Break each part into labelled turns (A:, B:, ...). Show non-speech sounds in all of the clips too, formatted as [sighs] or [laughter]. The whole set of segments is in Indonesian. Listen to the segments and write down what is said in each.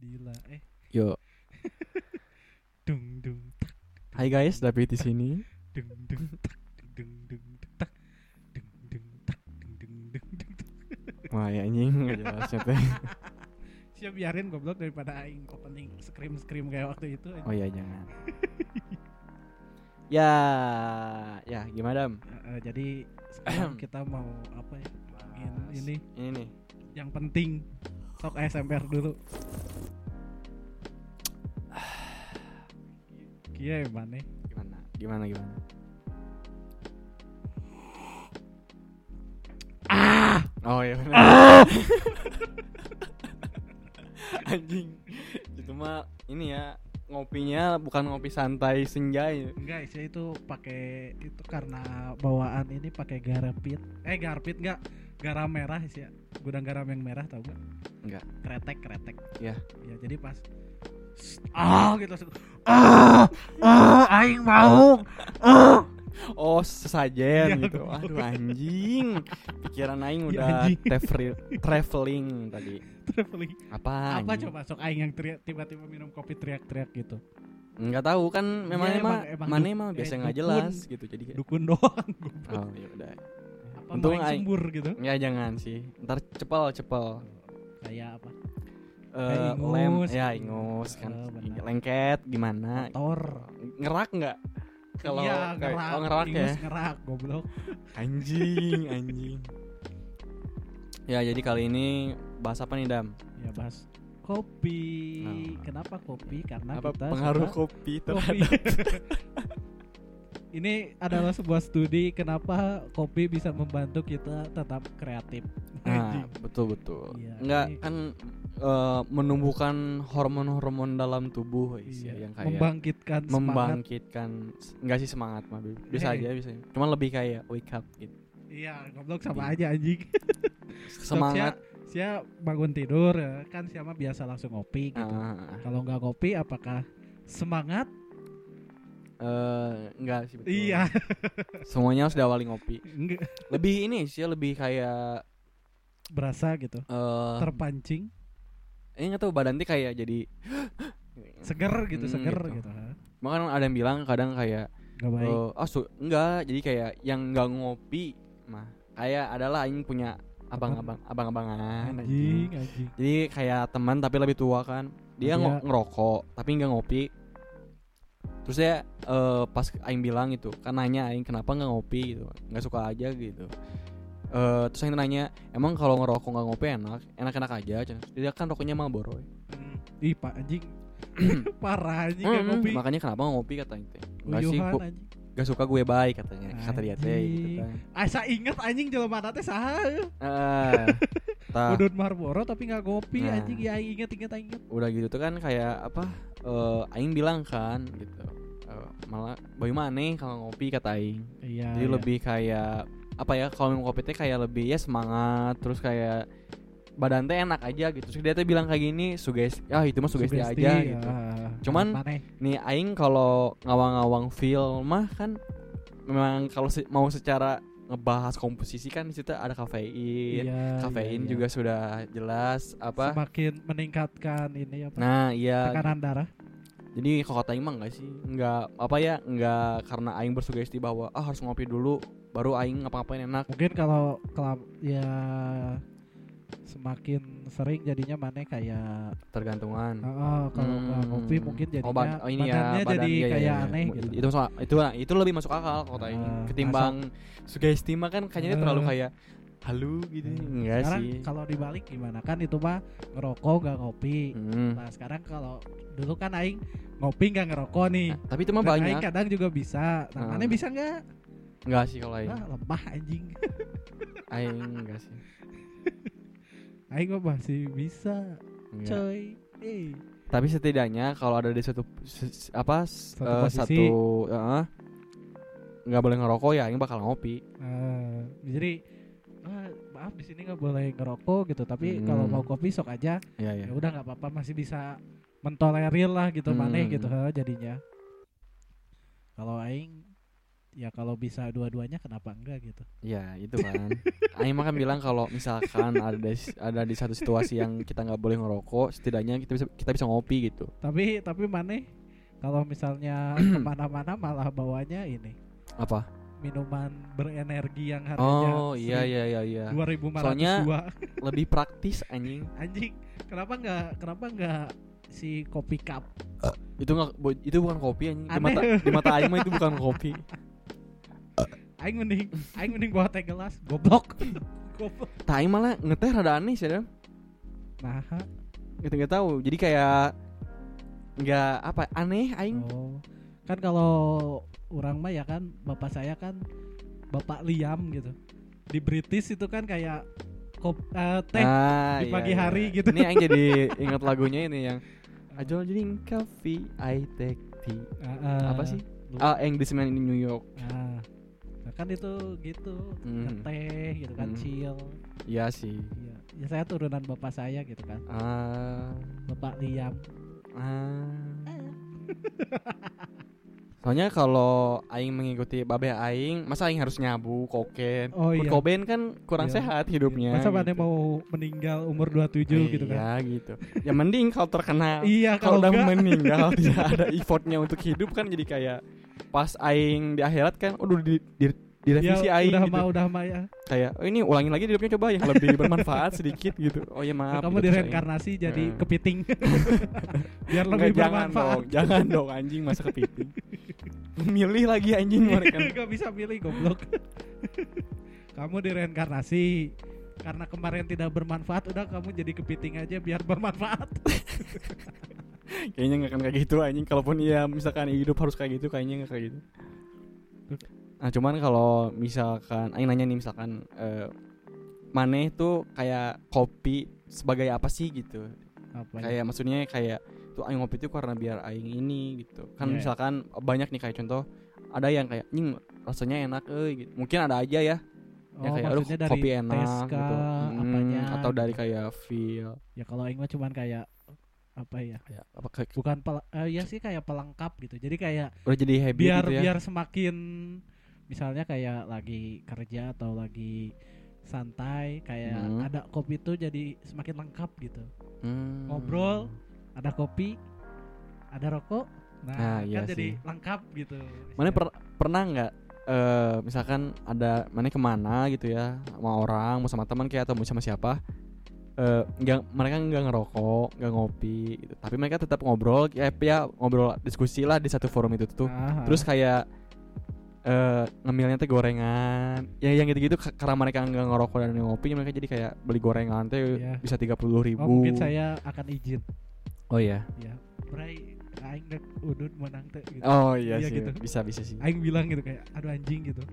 A: Gila. Eh,
B: Yo,
A: dung dung tak.
B: hai guys, David di sini.
A: Dung dung tak. Dung dung dung dung, tak. Dung dung tak. Dung dung dung dung, tak.
B: Wah, ya anjing nggak jelasnya teh.
A: Siap biarin goblok daripada aing opening scream scream kayak waktu itu.
B: Oh ya jangan. ya, ya gimana dam?
A: Eh, eh, jadi
B: [clears throat]
A: sekarang kita mau apa ya? Ngomongin ini
B: ini nih.
A: yang penting sok ASMR
B: [sighs]
A: dulu. Iya, mana?
B: Gimana? Gimana gimana? Ah! Oh ya benar. anjing. Itu mah ini ya ngopinya bukan ngopi santai senja ya.
A: Enggak, saya itu pakai itu karena bawaan ini pakai garapit. Eh, garapit enggak? Garam merah sih ya. Gudang garam yang merah tau gak?
B: Enggak.
A: Kretek, kretek.
B: Iya.
A: Ya, jadi pas ah gitu langsung ah ah aing mau ah
B: Oh
A: Iya,
B: sesajen gitu
A: betul.
B: Aduh anjing Pikiran
A: Iya,
B: Aing udah
A: anjing.
B: tefri- traveling tadi
A: traveling
B: Apa
A: apa
B: anjing?
A: coba sok aing yang teriak tiba-tiba minum kopi teriak-teriak gitu
B: Nggak tahu kan memang
A: Iya,
B: emang,
A: emang- emang
B: Mana
A: du-
B: emang
A: eh,
B: biasa nggak
A: dukun.
B: jelas gitu Jadi kayak
A: dukun doang goblok.
B: Oh ya udah
A: apa
B: Untung
A: maling
B: aing-
A: sembur gitu
B: Ya jangan sih Ntar cepel cepel
A: kayak apa
B: Eh,
A: ingus.
B: lem ya ingus kan
A: Eh, benar.
B: lengket gimana
A: tor
B: ngerak nggak kalau
A: iya,
B: kayak-
A: ngerak,
B: oh, ngerak ya
A: ingus ngerak goblok
B: anjing
A: [laughs]
B: anjing ya jadi kali ini bahas apa nih dam
A: ya bahas kopi
B: Nah.
A: kenapa kopi karena Nah,
B: apa
A: kita
B: pengaruh
A: suka
B: kopi terhadap
A: kopi [laughs] ini adalah sebuah studi kenapa kopi bisa membantu kita tetap kreatif
B: Nah,
A: Anjing.
B: betul betul.
A: Iya,
B: Enggak
A: ini-
B: kan eh, menumbuhkan hormon-hormon dalam tubuh guys,
A: Iya,
B: ya, yang kayak
A: membangkitkan semangat Iya.
B: membangkitkan enggak sih semangat mah. Beb. Bisa
A: Hey.
B: aja bisa. aja. Cuman lebih kayak wake up gitu.
A: iya goblok sama aja anjing [laughs] ya?
B: Semangat.
A: Gitu. Sia bangun tidur ya, kan Sia mah biasa langsung ngopi gitu.
B: ah,
A: Kalau nggak kopi apakah semangat?
B: eh, enggak sih betul.
A: Iya. [laughs]
B: Semuanya harus diawali ngopi.
A: Nggak
B: Lebih ini sih lebih kayak
A: berasa gitu.
B: eh
A: Terpancing,
B: ini enggak tahu badan tuh kayak jadi
A: seger gitu,
B: Hmm,
A: seger gitu.
B: gitu.
A: ha.
B: Makanya ada yang bilang kadang kayak
A: Nggak baik.
B: Eh, ah, su- enggak, jadi kayak yang enggak ngopi mah kayak adalah aing punya abang-abang
A: anjing,
B: abang-abangan anjing.
A: anjing.
B: Jadi kayak teman tapi lebih tua kan.
A: Iya.
B: Dia ngo- ngerokok tapi enggak ngopi. Terus dia eh, pas aing bilang gitu, kan nanya aing kenapa enggak ngopi gitu. Enggak suka aja gitu. Eh, terus aing nanya, "Emang kalau ngerokok enggak ngopi enak? Enak-enak aja." Cen." Dia kan rokoknya Marlboro. ya.
A: Hmm. Ih, Pak
B: [clears throat]
A: anjing. Parah anjing nggak
B: Mm,
A: kopi.
B: makanya kenapa nggak ngopi katanya teh. Enggak sih,
A: Uyuhan,
B: gu-
A: anjing.
B: enggak suka gue baik katanya. Kata dia teh gitu
A: Anjing.
B: kan.
A: Asa inget Ah, anjing jelema teh saha?
B: Ah,
A: [laughs]
B: tah,
A: Udut Marlboro tapi nggak kopi
B: Nah.
A: anjing. Ya aing inget inget aing inget.
B: udah gitu tuh kan kayak apa? eh, aing bilang kan gitu. Eh, malah boy maneh kalau ngopi kata aing.
A: Iya.
B: Jadi
A: iya.
B: lebih kayak apa ya? Kalau minum kopi teh kayak lebih ya semangat, terus kayak badan teh enak aja gitu. Terus dia teh bilang kayak gini, sugesti, ah itu mah sugesti, aja
A: ya.
B: gitu. Cuman-
A: Maneh.
B: Nih aing kalau ngawang-ngawang film mah kan memang kalau se- mau secara ngebahas komposisi kan di situ ada kafein.
A: Iya,
B: Kafein
A: iya, iya.
B: juga sudah jelas apa
A: semakin meningkatkan ini apa
B: Nah iya
A: tekanan darah
B: Jadi kalau kata Aing mah enggak sih Enggak apa ya Enggak karena Aing bersugesti bahwa Ah harus ngopi dulu Baru Aing ngapa-ngapain enak
A: mungkin kalau kelam ya semakin sering jadinya mana kayak
B: Tergantungan
A: oh, kalau nggak
B: Hmm.
A: ngopi mungkin jadinya
B: Oh, bad- oh, ini ya,
A: badannya
B: badan-
A: jadi
B: iya, iya,
A: kayak
B: iya.
A: aneh
B: Mu-
A: gitu
B: Itu masuk- itu itu lebih masuk akal kalau kata Aing
A: Ah,
B: Ketimbang sugesti mah kan
A: Eh.
B: kayaknya terlalu kayak Halu gitu Enggak
A: Hmm. sekarang
B: sih
A: kalau dibalik gimana kan itu mah ngerokok nggak ngopi
B: Hmm.
A: nah sekarang kalau dulu kan aing ngopi nggak ngerokok nih
B: Nah, Tapi itu mah
A: Dan aing
B: banyak
A: kadang juga bisa nah,
B: Ah. Iya.
A: mana bisa nggak
B: Enggak sih kalau Aing
A: ah, lemah anjing [laughs] Ah.
B: Aing enggak sih
A: aing mah masih bisa
B: Enggak.
A: coy eh
B: Tapi setidaknya kalau ada di satu se- se- apa s-
A: Satu
B: eh,
A: posisi.
B: satu heeh, nggak boleh ngerokok ya, ini bakal ngopi.
A: Eh, jadi "Ah, maaf di sini nggak boleh ngerokok gitu tapi
B: Hmm.
A: kalau mau kopi sok aja ya
B: Iya
A: udah nggak apa-apa masih bisa mentolerir lah gitu maneh
B: Hmm.
A: gitu he, jadinya kalau aing ya kalau bisa dua-duanya kenapa enggak gitu
B: Ya itu kan. [laughs] Aing mah kan bilang kalau misalkan ada ada di satu situasi yang kita nggak boleh ngerokok, setidaknya kita bisa kita bisa ngopi gitu.
A: tapi tapi maneh kalau
B: [clears throat]
A: misalnya kemana-mana malah bawanya ini
B: Apa?
A: minuman berenergi yang harganya
B: Oh iya iya iya iya.
A: 2502
B: Soalnya- Lebih praktis anjing.
A: [laughs] anjing kenapa enggak kenapa enggak si kopi cup
B: Itu nggak bo- itu bukan kopi anjing. Di
A: Aneh.
B: mata di mata aing [laughs] mah itu bukan kopi.
A: aing mending aing mending bawa teh gelas goblok [laughs] goblok
B: Tah aing malah ngeteh rada aneh sih ya.
A: nah
B: Gitu nggak tahu. Jadi kayak nggak apa aneh aing.
A: Oh. Kan kalau orang mah ya kan bapak saya kan Bapak Liam gitu. Di British itu kan kayak kop, eh, teh
B: Ah,
A: di pagi hari gitu.
B: Ini aing
A: [laughs]
B: jadi ingat lagunya ini yang I don't drink coffee, I take tea.
A: Ah, ah,
B: Apa sih?
A: lu-
B: Ah, Englishman in New York.
A: ah. Nah, kan itu gitu,
B: Hmm.
A: teh gitu kan
B: Hmm.
A: chill.
B: Iya sih.
A: Iya. Ya saya turunan bapak saya gitu kan.
B: Ah,
A: Bapak Liam.
B: ah.
A: [laughs]
B: Soalnya kalau aing mengikuti babe aing, masa aing harus nyabu koken.
A: Oh
B: Kurt
A: iya.
B: Cobain kan kurang
A: Iya.
B: sehat hidupnya.
A: Masa
B: gitu.
A: mana mau meninggal umur 27 gitu kan.
B: Iya gitu. Ya mending kalau
A: [laughs]
B: terkenal.
A: Iya kalau
B: kalau udah
A: enggak [laughs]
B: meninggal tidak ada effortnya untuk hidup kan jadi kayak pas aing di akhirat kan aduh di, di- direvisi
A: ya,
B: aing
A: udah
B: gitu.
A: mau udah mau ya.
B: Kayak oh, ini ulangin lagi hidupnya coba yang lebih bermanfaat sedikit gitu. Oh ya maaf.
A: kamu
B: gitu, terus aing-
A: direinkarnasi jadi
B: Hmm. [laughs]
A: kepiting biar lebih
B: Nggak, gitu. jangan dong,
A: bermanfaat
B: jangan dong anjing masa kepiting. Milih lagi anjing mereka.
A: gak Kan bisa pilih goblok [laughs] kamu direinkarnasi karena kemarin tidak bermanfaat udah kamu jadi kepiting aja biar
B: [laughs]
A: bermanfaat
B: Kayaknya nggak akan kayak gitu anjing. Kalaupun iya misalkan hidup harus kayak gitu, kayaknya nggak kayak gitu. Nah cuman kalau misalkan, aing nanya nih misalkan, eh Maneh tuh kayak kopi sebagai apa sih gitu?
A: apa ya?
B: Kayak maksudnya kayak tuh aing ngopi tuh karena biar aing ini gitu. Kan
A: Iya, iya.
B: misalkan banyak nih kayak contoh ada yang kayak anjing rasanya enak euy gitu. Mungkin ada aja ya
A: oh,
B: ya kayak aduh
A: maksudnya dari
B: kopi enak
A: tes
B: gitu
A: kah,
B: Mm,
A: apanya
B: atau dari kayak feel
A: ya kalau Aing mah cuman kayak apa ya
B: ya, apa kayak
A: bukan pel- eh, ya sih kayak pelengkap gitu jadi kayak
B: udah jadi habit
A: biar
B: gitu ya
A: biar semakin misalnya kayak lagi kerja atau lagi santai kayak
B: Hmm.
A: ada kopi itu jadi semakin lengkap gitu
B: Hmm.
A: ngobrol. ada kopi ada rokok nah,
B: Ah, iya
A: kan jadi
B: sih.
A: lengkap gitu
B: mana per- pernah nggak eh, misalkan ada mana kemana gitu ya sama orang mau sama teman kayak atau mau sama siapa eh, nggak mereka nggak ngerokok nggak ngopi gitu tapi mereka tetap ngobrol ya, ya ngobrol diskusi lah di satu forum itu tuh
A: Ah,
B: terus kayak eh ngemilnya teh gorengan ya yang gitu-gitu ka- karena mereka nggak ngerokok dan nggak ngopi mereka jadi kayak beli gorengan teh
A: Iya.
B: bisa tiga puluh ribu
A: oh, mungkin saya akan izin
B: oh iya
A: ya Bray aing dek udut menang teh gitu.
B: oh iya,
A: Iya
B: sih
A: gitu.
B: bisa bisa sih
A: aing bilang gitu kayak aduh anjing gitu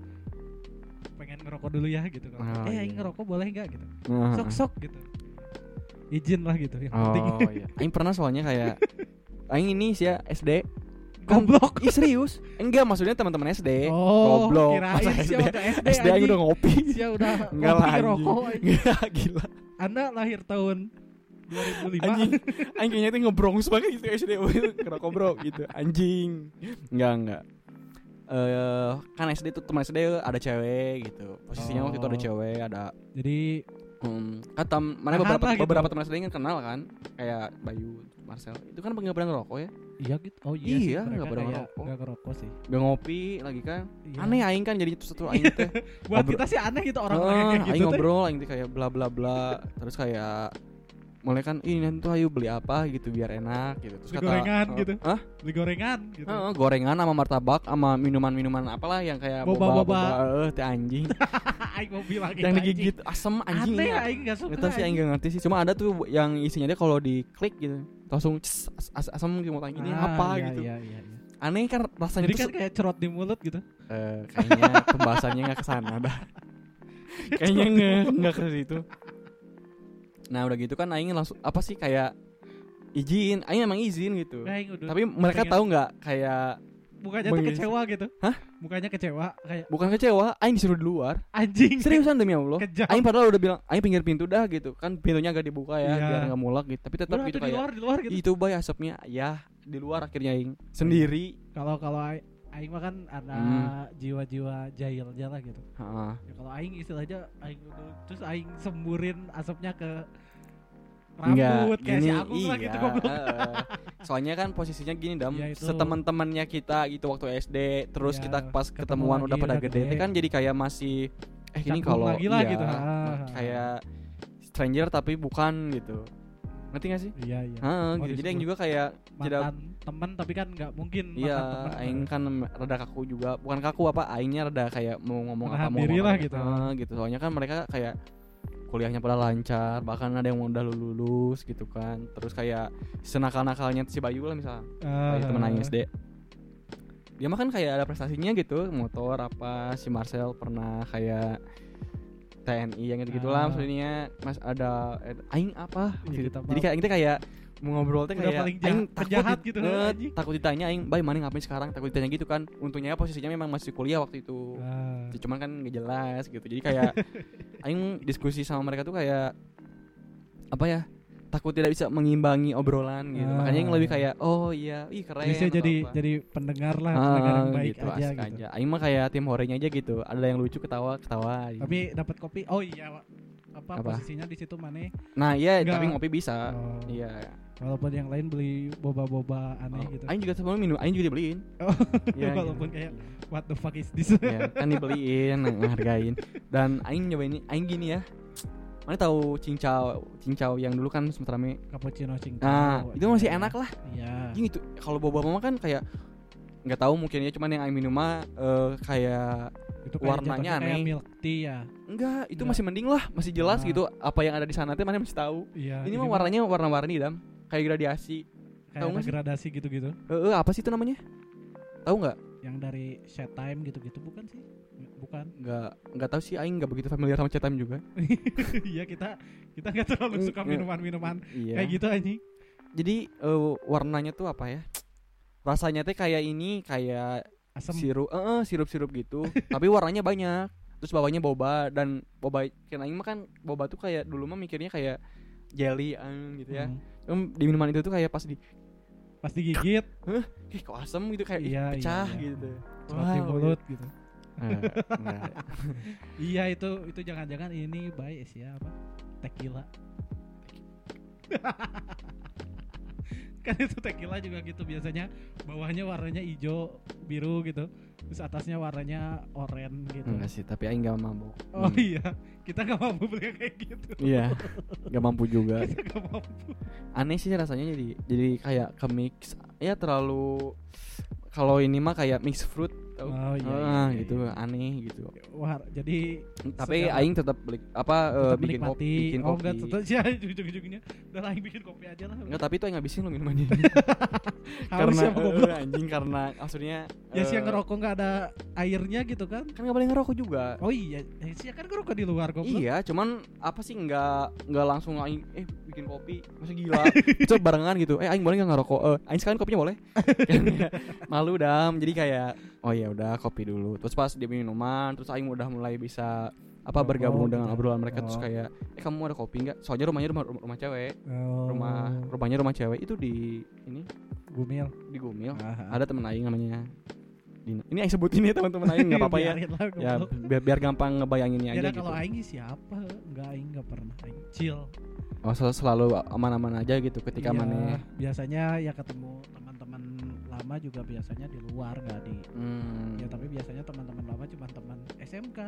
A: pengen ngerokok dulu ya gitu kalau
B: Oh,
A: eh
B: iya.
A: aing ngerokok boleh nggak gitu
B: Heeh.
A: sok sok gitu izin lah gitu yang penting [laughs]
B: oh iya [laughs] aing pernah soalnya kayak aing ini sih ya SD Kan-
A: goblok
B: Ih,
A: [laughs]
B: serius enggak maksudnya teman-teman SD
A: oh
B: goblok.
A: kirain
B: Masa
A: sia
B: SD?
A: udah SD
B: SD aing udah
A: [laughs]
B: ngopi [laughs]
A: sia udah
B: enggak lah
A: ngopi
B: anjing.
A: rokok anjing.
B: Enggak, gila
A: anda lahir tahun 2005
B: anjing anjing kayaknya tuh ngebrongs banget gitu [laughs] SD ngerokok bro gitu anjing enggak enggak eh kan SD tuh teman SD ada cewek gitu posisinya waktu itu ada
A: Oh.
B: cewek ada
A: [laughs] jadi
B: um, kan tam-
A: Tahan
B: mana beberapa
A: lah gitu.
B: beberapa teman SD yang kenal kan kayak Bayu Marcel itu kan nggak pernah ngerokok ya
A: Iya gitu. Oh
B: Iya,
A: sih,
B: nggak
A: mereka
B: pada
A: kayak
B: ngerokok.
A: nggak ngerokok sih.
B: nggak ngopi lagi kan
A: Iya.
B: aneh aing kan jadi satu aing teh
A: Buat
B: Ngobrol-
A: kita sih aneh gitu orang orang
B: Ah,
A: kayak
B: aing
A: gitu. tuh. [laughs]
B: ngobrol aing teh kayak bla bla bla terus kayak mulai kan ini nanti tuh ayo beli apa gitu biar enak gitu terus
A: Beli gorengan
B: eh,
A: gitu.
B: "Hah?
A: Beli gorengan gitu.
B: Heeh, gorengan sama martabak sama minuman-minuman apalah yang kayak
A: Boba-boba.
B: eh, teh anjing
A: Ah, aing mau bilang gitu,
B: yang
A: anjing.
B: digigit asem anjing
A: Aneh
B: ya.
A: aing enggak suka.
B: Nggak tahu sih aing nggak ngerti sih cuma ada tuh yang isinya dia kalau diklik gitu langsung ces, as- as- asem gitu mau tanya ini
A: Ah,
B: apa
A: iya,
B: gitu
A: Iya, iya, iya.
B: aneh kan rasanya
A: Jadi
B: tuh
A: kan
B: se-
A: kayak cerot di mulut gitu.
B: Eh, kayaknya pembahasannya nggak kesana dah
A: [laughs]
B: kayaknya nggak nggak ke situ nah udah gitu kan aing langsung apa sih kayak izin aing emang izin gitu
A: Nah, aing udah.
B: tapi mereka
A: pengen-
B: tahu nggak kayak
A: mukanya tuh
B: Bengis.
A: kecewa gitu.
B: Hah?
A: Mukanya kecewa kayak
B: bukan kecewa aing disuruh di luar
A: anjing.
B: Seriusan demi Allah.
A: [laughs] Kejam.
B: Aing padahal udah bilang, aing pinggir pintu dah gitu. Kan pintunya agak dibuka
A: Iya.
B: ya, biar nggak mulak gitu. Tapi tetap
A: Udah
B: gitu
A: tuh di
B: kayak
A: luar, di luar gitu.
B: itu bay asapnya ya di luar akhirnya aing sendiri.
A: Kalau kalau aing- aing mah kan ada
B: Hmm.
A: jiwa-jiwa jahilnya lah gitu
B: Heeh.
A: ya kalau aing istilahnya aing udah- terus aing semburin asapnya ke rambut kayak si
B: gini,
A: aku lah gitu
B: iya,
A: goblok
B: heeh. Soalnya kan posisinya gini dam,
A: Iya, itu.
B: seteman-temannya kita gitu waktu SD, terus
A: Iya,
B: kita pas
A: ketemu
B: ketemuan
A: lagi
B: udah pada
A: udah
B: gede,
A: gede.
B: kan jadi kayak masih eh
A: Canggung
B: ini kalau
A: lagi lah
B: iya,
A: gitu, ah.
B: kayak stranger tapi bukan gitu, ngerti gak sih?
A: iya iya
B: Heeh,
A: Mau
B: gitu. Jadi yang
A: disebut
B: juga kayak tidak
A: mantan temen tapi kan nggak mungkin
B: Iya,
A: mantan temen.
B: aing kan rada kaku juga. Bukan kaku apa, aingnya rada kayak mau ngomong apa
A: Menahan
B: mau
A: diri
B: ngomong
A: lah
B: apa.
A: gitu.
B: Heeh, gitu. Soalnya kan mereka kayak kuliahnya pada lancar, bahkan ada yang udah lulus gitu kan. Terus kayak senakal-nakalnya si Bayu lah misalnya,
A: Eh,
B: kayak temen aing SD. Dia mah kan kayak ada prestasinya gitu, motor apa si Marcel pernah kayak TNI yang gitu-gitu
A: Ah.
B: lah maksudnya Mas ada eh, aing apa?
A: Iya,
B: Gitu.
A: kita
B: Jadi kayak kita kayak mau ngobrol teh
A: Udah
B: kayak
A: paling jahat-
B: aing takut
A: penjahat
B: di-
A: gitu,
B: eh,
A: anjing.
B: takut ditanya aing bay mana ngapain sekarang takut ditanya gitu kan untungnya posisinya memang masih kuliah waktu itu
A: Eh,
B: cuman kan gak jelas gitu jadi
A: [laughs]
B: kayak aing diskusi sama mereka tuh kayak apa ya takut tidak bisa mengimbangi obrolan gitu
A: Ah.
B: makanya yang lebih kayak oh iya ih keren
A: biasanya
B: atau
A: jadi
B: apa.
A: jadi pendengar lah
B: Ah,
A: pendengar yang baik
B: gitu,
A: aja
B: asik
A: gitu
B: aja. Aing mah kayak tim horenya aja gitu. Ada yang lucu ketawa ketawa. gitu.
A: tapi dapat kopi oh iya Wak. apa,
B: Apa?
A: posisinya di situ mana
B: nah iya
A: Enggak.
B: tapi ngopi bisa.
A: Oh.
B: Iya.
A: walaupun yang lain beli boba-boba aneh
B: Oh,
A: gitu
B: Aing juga sebelum minum, Aing juga dibeliin.
A: Oh,
B: Iya,
A: [laughs] walaupun
B: gitu.
A: kayak what the fuck is this [laughs]
B: ya kan dibeliin ngehargain dan aing nyobain ini aing gini ya mana tahu cincau cincau yang dulu kan sempat rame
A: cappuccino gitu. cingkau
B: nah itu masih enak lah
A: Oh, iya
B: Anjing itu kalau boba mama kan kayak nggak tahu mungkin ya cuman yang aing minum mah eh, kayak
A: itu kayak
B: warnanya
A: jatuhnya kayak
B: aneh.
A: milk tea ya
B: enggak itu
A: Nggak.
B: masih mending lah masih jelas
A: Ah.
B: gitu apa yang ada di sana teh mana masih tahu
A: iya
B: ini mah warnanya warna-warni dam kayak gradiasi
A: kayak ada
B: tahu nggak sih?
A: gradasi gitu-gitu
B: eh eh, apa sih itu namanya tahu nggak
A: yang dari set time gitu-gitu bukan sih bukan [laughs]
B: nggak nggak tahu sih aing nggak begitu familiar sama cetam juga
A: iya kita kita nggak terlalu suka
B: Iya.
A: minuman-minuman
B: iya
A: kayak gitu anjing
B: jadi eh, warnanya tuh apa ya rasanya teh kayak ini kayak
A: asam
B: sirup eh eh, sirup-sirup gitu tapi warnanya banyak terus bawahnya boba dan boba kena mah kan boba tuh kayak dulu mah mikirnya kayak jelly eh, gitu ya
A: Hmm.
B: Em, di minuman itu tuh kayak pas di
A: pas digigit
B: ih kok asem gitu kayak ih,
A: Iya, iya,
B: pecah
A: iya.
B: gitu
A: cepat di
B: Wow,
A: mulut gitu
B: gitu. Eh, enggak.
A: iya itu itu jangan-jangan ini baik sih ya apa tequila [laughs] kan itu tequila juga gitu biasanya bawahnya warnanya hijau biru gitu terus atasnya warnanya oranye gitu
B: Enggak sih tapi aing nggak mabuk
A: oh
B: Hmm.
A: iya kita nggak mampu beli kayak gitu
B: iya nggak mampu juga
A: kita nggak mampu
B: aneh sih rasanya jadi jadi kayak ke mix ya terlalu kalau ini mah kayak mix fruit tau.
A: Oh, iya,
B: Ah,
A: iya, iya,
B: gitu
A: iya.
B: aneh gitu
A: Wah, jadi
B: tapi
A: Secara-
B: aing tetap beli apa eh,
A: tetap
B: bikin kopi
A: menikmati
B: bikin
A: oh
B: kopi
A: enggak tetap [laughs] ya ujung-ujungnya udah lah bikin kopi aja lah
B: Enggak, tapi itu aing ngabisin lo
A: [laughs]
B: minumannya
A: harus
B: karena
A: ya mau goblok
B: eh, [laughs] anjing karena maksudnya
A: ya sih yang
B: eh,
A: ngerokok nggak ada airnya gitu kan
B: kan nggak boleh ngerokok juga
A: oh iya ya sih kan ngerokok di luar goblok
B: Iya, cuman apa sih nggak nggak langsung aing eh bikin kopi, masa
A: [laughs]
B: gila. Coba barengan gitu. Eh aing boleh nggak ngerokok? Eh aing sekalian kopinya boleh? [laughs] Malu dam. Jadi kayak oh ya udah kopi dulu. Terus pas dia minuman, terus aing udah mulai bisa apa
A: Ngerokok
B: bergabung
A: gitu
B: dengan
A: ya.
B: obrolan mereka terus
A: Oh.
B: kayak eh kamu ada kopi nggak? Soalnya rumahnya rumah rumah, rumah cewek,
A: Oh.
B: rumah
A: Eh,
B: rumahnya rumah cewek itu di ini
A: gumil
B: di Gumil.
A: Ah.
B: Ada temen aing namanya Dina. Ini aing sebutin ya teman-teman
A: [laughs]
B: aing nggak apa-apa ya. Ya biar, biar gampang ngebayanginnya
A: ya
B: aja
A: udah
B: gitu.
A: kalau aing sih siapa enggak aing enggak pernah aing chill
B: Oh, sel- selalu aman-aman aja gitu
A: Iya,
B: ketika mana
A: biasanya ya ketemu teman-teman lama juga biasanya di luar nggak di
B: hmm,
A: ya tapi biasanya teman-teman lama cuma teman SMK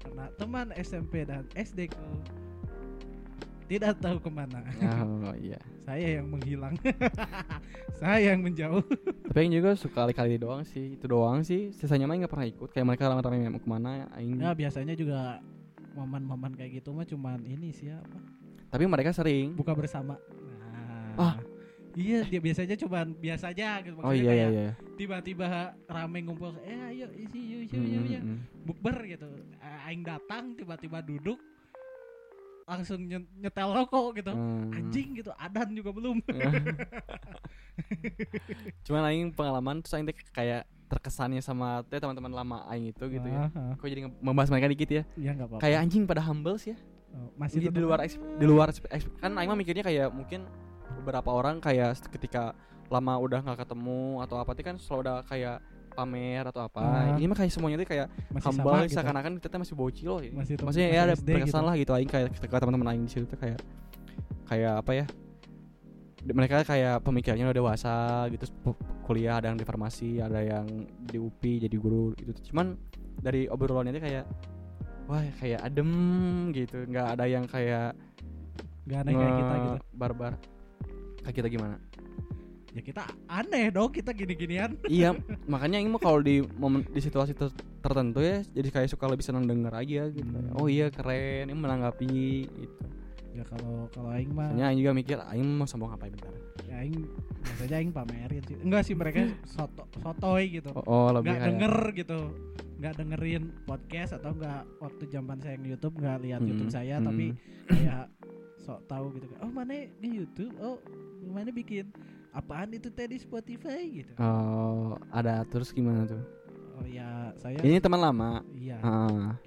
A: karena teman SMP dan SD ku tidak tahu kemana
B: [laughs] oh, iya.
A: saya yang menghilang [laughs] saya yang menjauh
B: Tapi Aing juga suka kali-kali doang sih, itu doang sih. Sisanya main nggak pernah ikut. Kayak mereka rame-rame mau kemana, Aing.
A: nah biasanya juga momen-momen kayak gitu mah cuman ini sih ya, apa
B: Tapi mereka sering.
A: buka bersama nah,
B: Ah.
A: iya dia biasanya cuman biasa aja gitu
B: oh
A: maksudnya
B: iya iya
A: kayak
B: iya.
A: tiba-tiba rame ngumpul eh ayo isi yuk yuk
B: Mm,
A: yuk
B: mm,
A: yuk
B: mm.
A: bukber gitu A- aing datang tiba-tiba duduk langsung nye- nyetel rokok gitu
B: Hmm.
A: anjing gitu adan juga belum
B: [laughs] Cuman Aing pengalaman terus Aing teh kayak terkesannya sama teh teman-teman lama Aing itu gitu ya.
A: Ah, ah.
B: Kok jadi nge- membahas mereka dikit ya.
A: ya nggak apa-apa
B: Kayak anjing pada humble sih ya.
A: Oh, masih
B: Jadi di
A: tetep-
B: luar eks- di luar eks- eks- kan Aing mah mikirnya kayak mungkin beberapa orang kayak ketika lama udah nggak ketemu atau apa tuh kan selalu ada kayak pamer atau apa
A: Ah.
B: ini mah kayak semuanya tuh kayak
A: masih
B: humble
A: gitu.
B: seakan-akan kita tuh masih bocil loh ya.
A: Masih tem-
B: maksudnya
A: masih
B: ya ada
A: SD
B: perkesan
A: gitu.
B: lah gitu aing kayak kita ke teman-teman aing di situ tuh kayak kayak apa ya di- mereka kayak pemikirannya udah dewasa gitu terus pe- kuliah ada yang di farmasi ada yang di UPI jadi guru gitu cuman dari obrolannya tuh kayak wah kayak adem gitu nggak ada yang kayak
A: Gak aneh kayak kita gitu
B: nge- barbar kayak kita gimana
A: ya kita aneh dong kita gini-ginian
B: iya makanya ini mah kalau di momen di situasi ter- tertentu ya jadi kayak suka lebih senang denger aja gitu
A: Hmm.
B: oh iya keren ini menanggapi gitu
A: ya kalau kalau aing mah
B: Soalnya Aing juga mikir Aing mau sombong apa bentar
A: ya aing biasanya aing pamerin sih enggak sih mereka soto sotoy gitu
B: oh, oh lebih
A: nggak
B: kayak
A: denger gitu nggak dengerin podcast atau nggak waktu jaman saya yang YouTube nggak lihat
B: Mm-mm,
A: YouTube saya tapi
B: hmm.
A: kayak sok tahu gitu kan oh mana di YouTube oh mana bikin apaan itu tadi Spotify gitu
B: oh, ada terus gimana tuh
A: oh ya saya
B: ini teman lama
A: iya
B: ah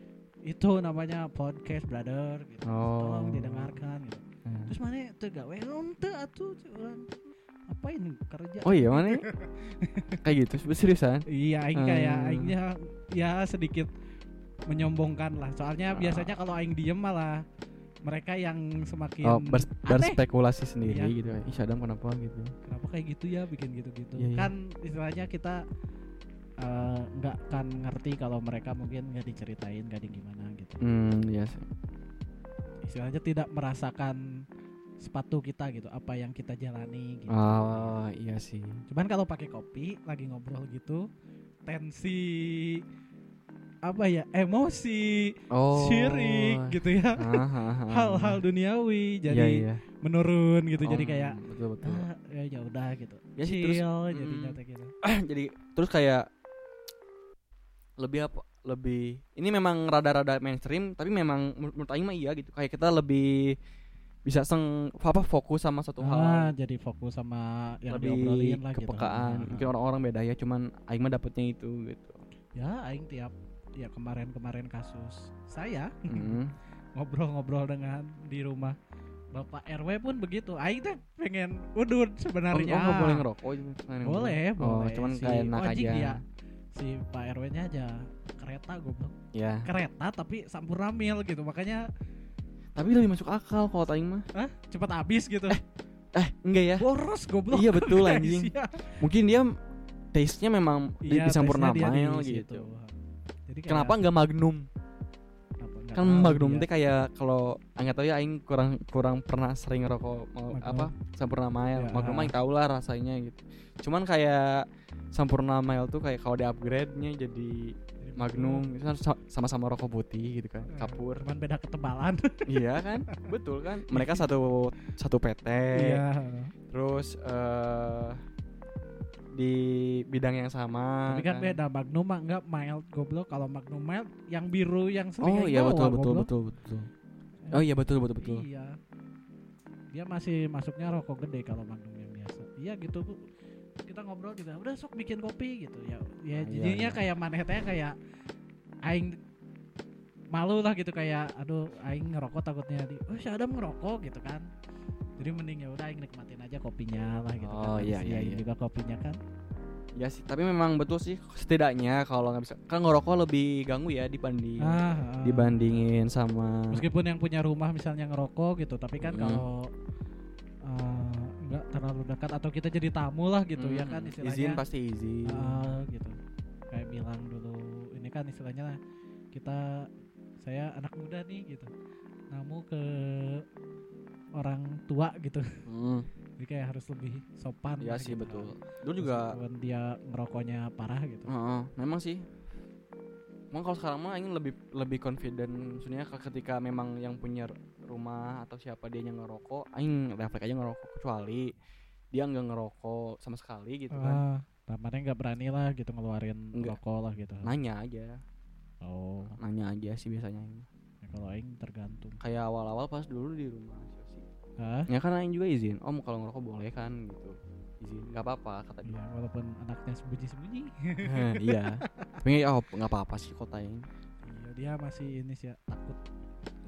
A: itu namanya podcast brother gitu
B: Oh.
A: tolong didengarkan gitu terus mana tuh gawe ente atuh cik, orang apa ini kerja
B: oh iya mana
A: [laughs]
B: kayak gitu seriusan
A: Iya, aing kayak
B: Hmm.
A: aingnya ya sedikit menyombongkan lah. Soalnya
B: Ah.
A: biasanya kalau aing diem malah mereka yang semakin
B: oh bers-
A: aneh.
B: berspekulasi sendiri
A: Iya.
B: gitu Ih Adam kenapa gitu
A: Kenapa kayak gitu ya bikin gitu-gitu?
B: Iya, iya.
A: Kan istilahnya kita eh, nggak kan ngerti kalau mereka mungkin nggak diceritain, nggak di gimana gitu.
B: hmm iya sih
A: Istilahnya tidak merasakan sepatu kita gitu, apa yang kita jalani gitu.
B: oh iya sih
A: Cuman kalau pakai kopi lagi ngobrol gitu, tensi apa ya emosi
B: oh
A: syirik gitu ya
B: Ah, ah, ah.
A: hal-hal duniawi
B: Iya,
A: jadi
B: iya.
A: menurun gitu jadi
B: Om,
A: kayak
B: betul betul
A: ah, ya ya udah gitu
B: Ya sih, terus-
A: chill jadi
B: mm.
A: nyata gitu
B: [laughs] jadi terus kayak lebih apa lebih ini memang rada-rada mainstream tapi memang menur- menurut Aing mah iya gitu kayak kita lebih bisa seng apa fokus sama satu
A: ah,
B: hal
A: jadi fokus sama yang
B: lebih
A: diobrolin lah gitu
B: kepekaan
A: Ah,
B: mungkin orang-orang beda ya cuman Aing mah dapetnya itu gitu
A: [laughs] ya aing tiap ya kemarin-kemarin kasus saya
B: Mm.
A: ngobrol-ngobrol dengan di rumah Bapak RW pun begitu aing teh pengen udut sebenarnya
B: oh, oh, nggak boleh ngerokok cuman pengen
A: ah. boleh
B: ngerokok.
A: boleh ya.
B: oh cuman
A: Si
B: kayak enak
A: ojik
B: aja
A: dia, si Pak RW-nya aja kereta goblok
B: ya
A: kereta tapi sampurna mil gitu makanya
B: tapi lebih masuk akal kalau Aing mah
A: ah cepet habis gitu
B: eh enggak ya
A: boros goblok
B: Iya,
A: [laughs]
B: betul, anjing.
A: Sia.
B: mungkin dia taste-nya memang di-
A: Iya,
B: disampurna
A: tesnya dia
B: mail
A: di situ. Iya.
B: gitu
A: Jadi kayak-
B: kenapa nggak magnum
A: kenapa nggak
B: kan
A: tahu Iya,
B: Magnum
A: dia.
B: teh kayak kalau nggak tahu ya aing kurang kurang pernah sering ngerokok mau
A: Magnum.
B: apa sampurna mail
A: Ya.
B: Magnum aing tau lah rasanya gitu cuman kayak sampurna mail tuh kayak kalau di upgrade nya jadi
A: Jadi
B: Magnum itu kan sa- sama-sama rokok putih gitu kan
A: Eh,
B: kapur [laughs]
A: cuman beda ketebalan
B: iya kan betul kan mereka satu satu PT
A: iya
B: terus eh di bidang yang sama
A: tapi kan beda Magnum mah nggak mild goblok kalau Magnum mild yang biru yang sering yang
B: oh iya
A: bawa,
B: betul betul
A: goblok.
B: betul betul oh iya betul betul betul
A: iya dia masih masuknya rokok gede kalau Magnum yang biasa iya gitu Bu. kita ngobrol juga udah sok bikin kopi gitu ya ya
B: Ah, iya,
A: jadinya
B: iya.
A: kayak manehnya kayak aing malu lah gitu kayak aduh aing ngerokok takutnya di oh si Adam ngerokok gitu kan jadi mending ya udah aing nikmatin aja kopinya lah gitu kan
B: Oh, iya, iya,
A: Disediain
B: iya.
A: juga kopinya kan
B: Ya sih, tapi memang betul sih setidaknya kalau nggak bisa kan ngerokok lebih ganggu ya dibanding
A: ah, ah.
B: dibandingin sama
A: meskipun yang punya rumah misalnya ngerokok gitu tapi kan
B: Mm.
A: kalau eh, nggak terlalu dekat atau kita jadi tamu lah gitu ya kan
B: Hmm,
A: istilahnya
B: izin pasti izin.
A: eh, gitu kayak bilang dulu ini kan istilahnya kita saya anak muda nih gitu namu ke orang tua gitu [laughs]
B: Hmm,
A: jadi kayak harus lebih sopan lah
B: ya sih
A: gitu
B: betul.
A: kan.
B: Dulu juga Mm,
A: Meskipun dia ngerokoknya parah gitu
B: heeh, memang sih. Emang kalau sekarang mah ingin lebih lebih confident maksudnya ke- ketika memang yang punya r- rumah atau siapa dia yang ngerokok, aing refleks aja ngerokok kecuali dia nggak ngerokok sama sekali gitu kan.
A: Ah, namanya nggak berani lah gitu ngeluarin
B: Nggak. Nah.
A: rokok lah gitu
B: Nanya aja,
A: oh
B: nanya aja sih biasanya.
A: ya kalau aing tergantung
B: Kayak awal-awal pas dulu di rumah sih.
A: Hah?
B: ya kan Aing juga izin om kalau ngerokok boleh kan gitu izin nggak apa-apa kata dia
A: Iya, walaupun anaknya sembunyi-sembunyi. Eh,
B: Hah, iya tapi ya, oh, nggak apa-apa sih kota ini
A: Iya, dia masih ini sih ya, takut.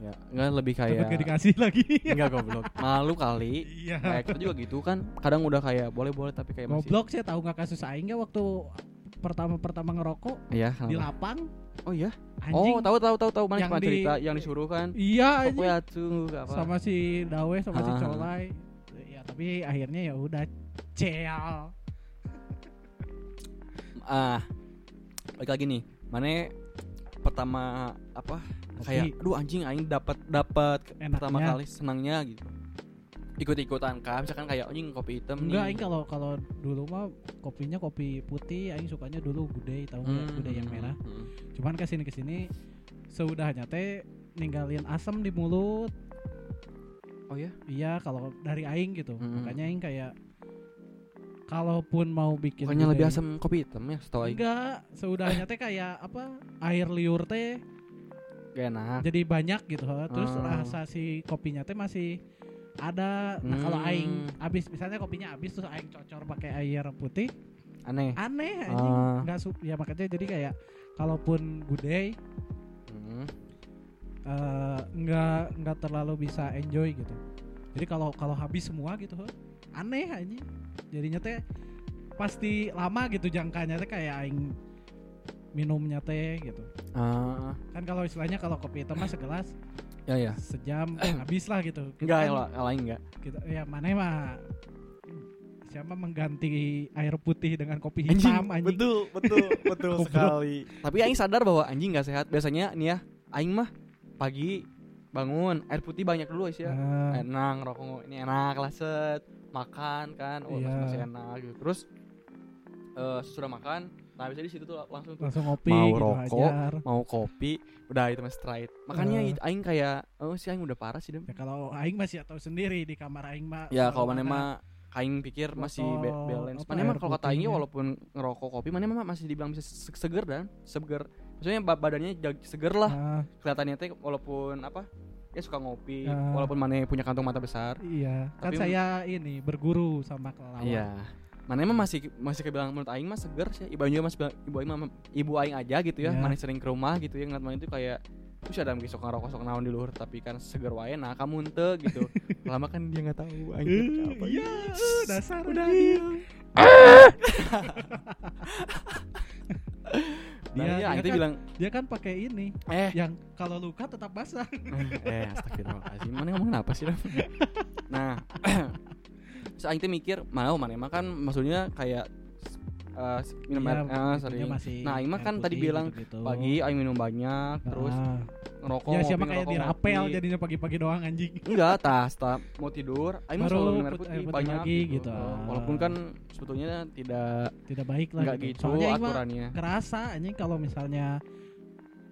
B: ya nggak lebih
A: Takut
B: kayak Iya.
A: gak dikasih lagi.
B: nggak goblok malu kali
A: Iya.
B: kayak kita juga gitu kan kadang udah kayak boleh boleh tapi kayak masih
A: Goblok sih tahu nggak kasus aing nggak waktu pertama pertama ngerokok
B: Iya,
A: di
B: kenapa?
A: lapang
B: Oh iya.
A: anjing
B: Oh, tahu tahu tahu tahu
A: Yang
B: mana cuma
A: di-
B: cerita yang disuruh kan.
A: iya anjing.
B: Pokoknya tuh nggak ya, apa.
A: sama si Dawe sama si
B: Ah.
A: Colai ya tapi akhirnya ya udah cel
B: Ah. Balik lagi nih. Mana pertama apa
A: Kopi.
B: kayak aduh anjing aing dapat dapat
A: enaknya
B: pertama kali senangnya gitu. Ikut-ikutan kan misalkan kayak anjing kopi hitam
A: enggak aing
B: nih.
A: kalau kalau dulu mah kopinya kopi putih aing sukanya dulu gudeg tahu nggak
B: Hmm,
A: gudeg yang
B: hmm,
A: merah Gitu
B: hmm.
A: cuman kesini kesini seudahnya teh ninggalin asam di mulut
B: Oh ya?
A: iya kalau dari aing gitu
B: Hmm.
A: makanya aing kayak kalaupun mau bikin
B: Bukannya lebih
A: gudeg-
B: asam kopi hitam ya setahu aing.
A: enggak seudahnya teh kayak apa air liur teh
B: Gak enak.
A: jadi banyak gitu he. terus
B: Oh.
A: rasa si kopinya teh masih ada nah kalau
B: Hmm.
A: aing habis misalnya kopinya habis terus aing cocor pakai air putih
B: Aneh.
A: aneh anjing
B: Ah.
A: nggak su- ya makanya jadi kayak kalaupun gudeg
B: Hmm.
A: eh, nggak nggak terlalu bisa enjoy gitu jadi kalau kalau habis semua gitu he, aneh anjing jadinya teh pasti lama gitu jangkanya teh kayak aing minumnya teh gitu
B: Ah,
A: kan kalau istilahnya kalau kopi hitam mah segelas
B: ya ya. [clears throat]
A: sejam habis lah gitu Kita
B: Enggak, ya,
A: kan-
B: kalau kalau aing enggak.
A: kita ya mana mah siapa mengganti air putih dengan kopi
B: Anjing,
A: hitam anjing,
B: betul,
A: [laughs]
B: betul, betul
A: Goblok.
B: sekali. Tapi aing sadar bahwa anjing nggak sehat. Biasanya nih ya, aing mah pagi bangun air putih banyak dulu sih ya.
A: Ah,
B: Enak rokok ini enak lah set. Makan kan, oh masih,
A: Iya.
B: masih enak gitu. Terus eh sudah makan, nah bisa di situ tuh langsung tuh
A: langsung ngopi
B: Mau
A: gitu
B: rokok.
A: hajar.
B: mau kopi, udah itu mah straight. Makanya
A: Eh.
B: it- aing kayak oh si aing udah parah sih dem.
A: ya kalau aing masih tahu sendiri di kamar aing mah
B: Ya kalau
A: ada-
B: mana mah aing pikir masih be-
A: Botol,
B: balance.
A: apa, ya,
B: Mana mah
A: air
B: kalau kata aingnya
A: putihnya.
B: walaupun ngerokok kopi mana mah masih dibilang bisa se- seger dan seger. Maksudnya ba- badannya jag- seger lah
A: Ah,
B: kelihatannya teh walaupun apa ya suka ngopi
A: Ya.
B: walaupun mana punya kantong mata besar.
A: iya kan
B: Tapi- Iya.
A: saya ini berguru sama kelelawar
B: Mana mah masih masih kebilang menurut aing mah seger sih. Ibu aing juga masih bilang- ibu aing mah ibu aing aja gitu ya.
A: Ya.
B: Mana sering ke rumah gitu ya ngeliat mana itu kayak Terus ada mungkin sok ngerokok sok naon di luhur tapi kan seger wae nah kamu ente gitu. [laughs] Lama kan dia nggak tahu
A: Eh,
B: anjing apa.
A: iya eh, dasar
B: Udah [laughs]
A: anjing.
B: iya.
A: Dia-
B: Dia,
A: dia
B: itu
A: kan-
B: iya, bilang
A: dia kan pakai ini
B: eh
A: yang kalau luka tetap basah
B: [laughs] eh astagfirullahaladzim mana ngomong kenapa sih Ram? nah [clears throat] terus aing teh mikir mana oh, mana emang kan maksudnya kayak eh,
A: Iya,
B: minum air eh,
A: kopinya
B: sering
A: masih
B: Nah, aing mah
A: air
B: kan tadi
A: putih
B: bilang
A: gitu-gitu.
B: pagi aing minum banyak terus
A: Ah.
B: ngerokok
A: ya siapa
B: ngopi,
A: kayak
B: ngerokok,
A: dirapel
B: ngopi.
A: jadinya pagi-pagi doang anjing
B: enggak tas tak mau tidur aing mah
A: Baru
B: selalu minum air
A: put-
B: putih,
A: air putih
B: banyak
A: lagi gitu.
B: Eh, walaupun kan sebetulnya tidak
A: tidak baik lah
B: enggak gitu,
A: soalnya aing mah
B: aturannya
A: kerasa anjing kalau misalnya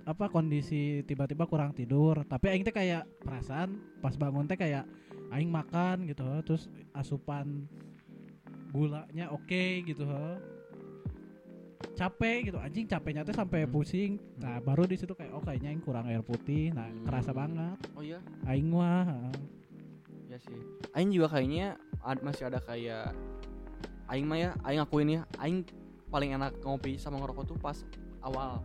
A: apa kondisi tiba-tiba kurang tidur tapi aing teh kayak perasaan pas bangun teh kayak aing makan gitu terus asupan gulanya oke gitu he. capek gitu anjing capeknya teh sampai
B: Hmm.
A: pusing nah baru di situ kayak oh kayaknya aing kurang air putih nah
B: Hmm.
A: kerasa banget
B: oh iya
A: aing mah heeh.
B: Ya sih. Aing juga kayaknya ad- masih ada kayak aing mah ya, aing ngakuin ya, aing paling enak ngopi sama ngerokok tuh pas awal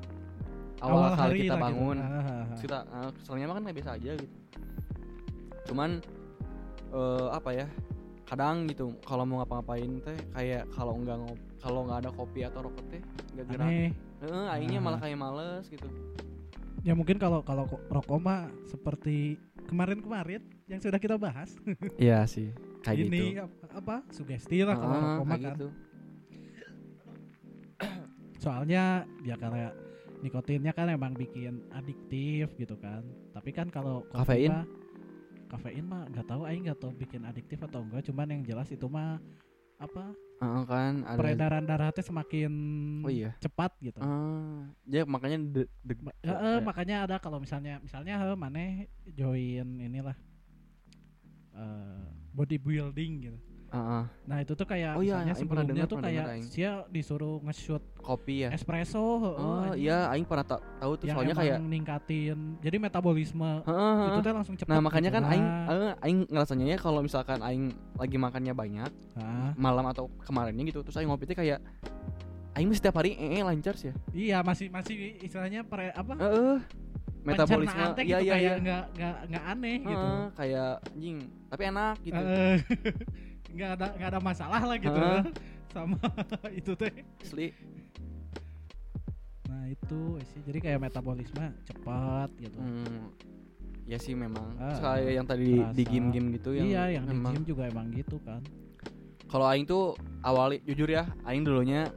B: awal, kali kita
A: lah gitu.
B: bangun.
A: Ah, ah, ah.
B: Terus Kita eh, soalnya mah kan kayak biasa aja gitu. Cuman eh, apa ya? Kadang gitu kalau mau ngapa-ngapain teh kayak kalau nggak ngop kalau nggak ada kopi atau rokok teh nggak gerak.
A: aneh
B: Heeh, aingnya malah
A: Ah.
B: kayak males gitu.
A: ya mungkin kalau kalau ko- rokok mah seperti kemarin-kemarin yang sudah kita bahas
B: Iya sih, gitu.
A: ini ap- apa sugesti lah
B: Ah,
A: kalau rokok mah kan soalnya ya karena nikotinnya kan emang bikin adiktif gitu kan tapi kan kalau kopi
B: Kafein?
A: mah- kafein mah nggak tahu aing nggak tahu bikin adiktif atau enggak cuman yang jelas itu mah apa
B: kan ada
A: peredaran darahnya semakin
B: Oh iya.
A: cepat gitu
B: Ah, Oh, iya. ya makanya de, de-
A: Ma- eh, eh, makanya ada kalau misalnya misalnya he, maneh join inilah eh bodybuilding gitu.
B: Ah, ah.
A: Nah, itu tuh kayak
B: Oh iya,
A: misalnya
B: aing pernah
A: sebelumnya
B: dengar,
A: tuh
B: pernah dengar,
A: kayak
B: aing.
A: dia disuruh nge-shoot
B: kopi ya.
A: espresso heeh,
B: Oh
A: anjing.
B: iya, aing pernah ta- tahu tuh
A: yang
B: soalnya
A: emang
B: kayak
A: ningkatin jadi metabolisme
B: Heeh, heeh.
A: itu tuh langsung cepet
B: Nah, makanya
A: gitu
B: kan aing
A: nah.
B: eh, aing ngerasanya ya kalau misalkan aing lagi makannya banyak
A: Nah,
B: malam atau kemarinnya gitu terus aing ngopi teh kayak aing mah setiap hari eh eh, lancar sih ya.
A: iya masih masih istilahnya pre, apa
B: Heeh. metabolisme
A: pencernaan teh
B: iya
A: gitu
B: iya iya.
A: kayak nggak nggak nggak aneh gitu
B: Heeh, kayak anjing, tapi enak gitu.
A: [laughs] Eh, [laughs] nggak ada nggak ada masalah lah gitu
B: Heeh.
A: sama itu teh
B: Asli.
A: nah itu sih jadi kayak metabolisme cepat gitu
B: Hmm, ya sih memang.
A: Ah,
B: Kayak yang tadi di- di
A: terasa.
B: game-game gitu yang,
A: iya yang di
B: memang.
A: gym juga emang gitu kan
B: Kalau aing tuh awali jujur ya, aing dulunya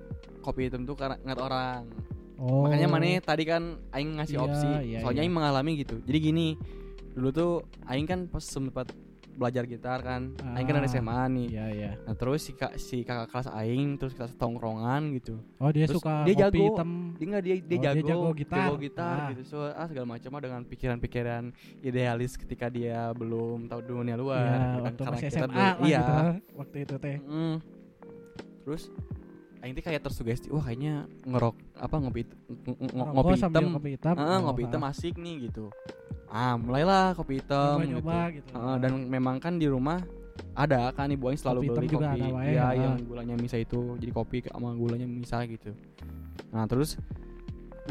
B: kopi hitam tuh karena ngat orang.
A: oh
B: Makanya mana tadi kan aing ngasih
A: Iya,
B: opsi.
A: iya, iya.
B: Soalnya aing mengalami gitu. Jadi gini, dulu tuh aing kan pas sempat belajar gitar kan. Aing kan
A: Ah,
B: dari SMA nih.
A: iya iya
B: Nah, terus si, ka- si kakak kelas aing terus kita tongkrongan gitu.
A: oh dia
B: Terus
A: suka
B: dia
A: kopi
B: jago.
A: hitam
B: Dia enggak dia, dia
A: Oh, dia
B: jago,
A: jago gitar.
B: gitar
A: Ah.
B: gitu. So, ah, segala macam lah dengan pikiran-pikiran idealis ketika dia belum tahu dunia luar.
A: ya
B: gitu kan.
A: waktu
B: Karena
A: masih
B: kita
A: SMA
B: dulu-
A: lah
B: iya.
A: gitu lah, waktu itu teh
B: Mm. Terus aing teh kayak tersugesti, wah kayaknya ngerok apa ngopi hit- ng- ng-
A: Ngerokok
B: ngopi
A: sambil
B: hitam.
A: kopi hitam
B: Ah, ngopi hitam asik nih gitu. Ah, mulailah kopi hitam
A: nyoba,
B: gitu.
A: nyoba gitu,
B: Heeh, dan memang kan di rumah ada kan ibu aing
A: Kopi
B: selalu beli
A: hitam juga
B: kopi
A: ada wae,
B: ya
A: heeh.
B: yang gulanya misa itu jadi kopi sama gulanya misa gitu nah terus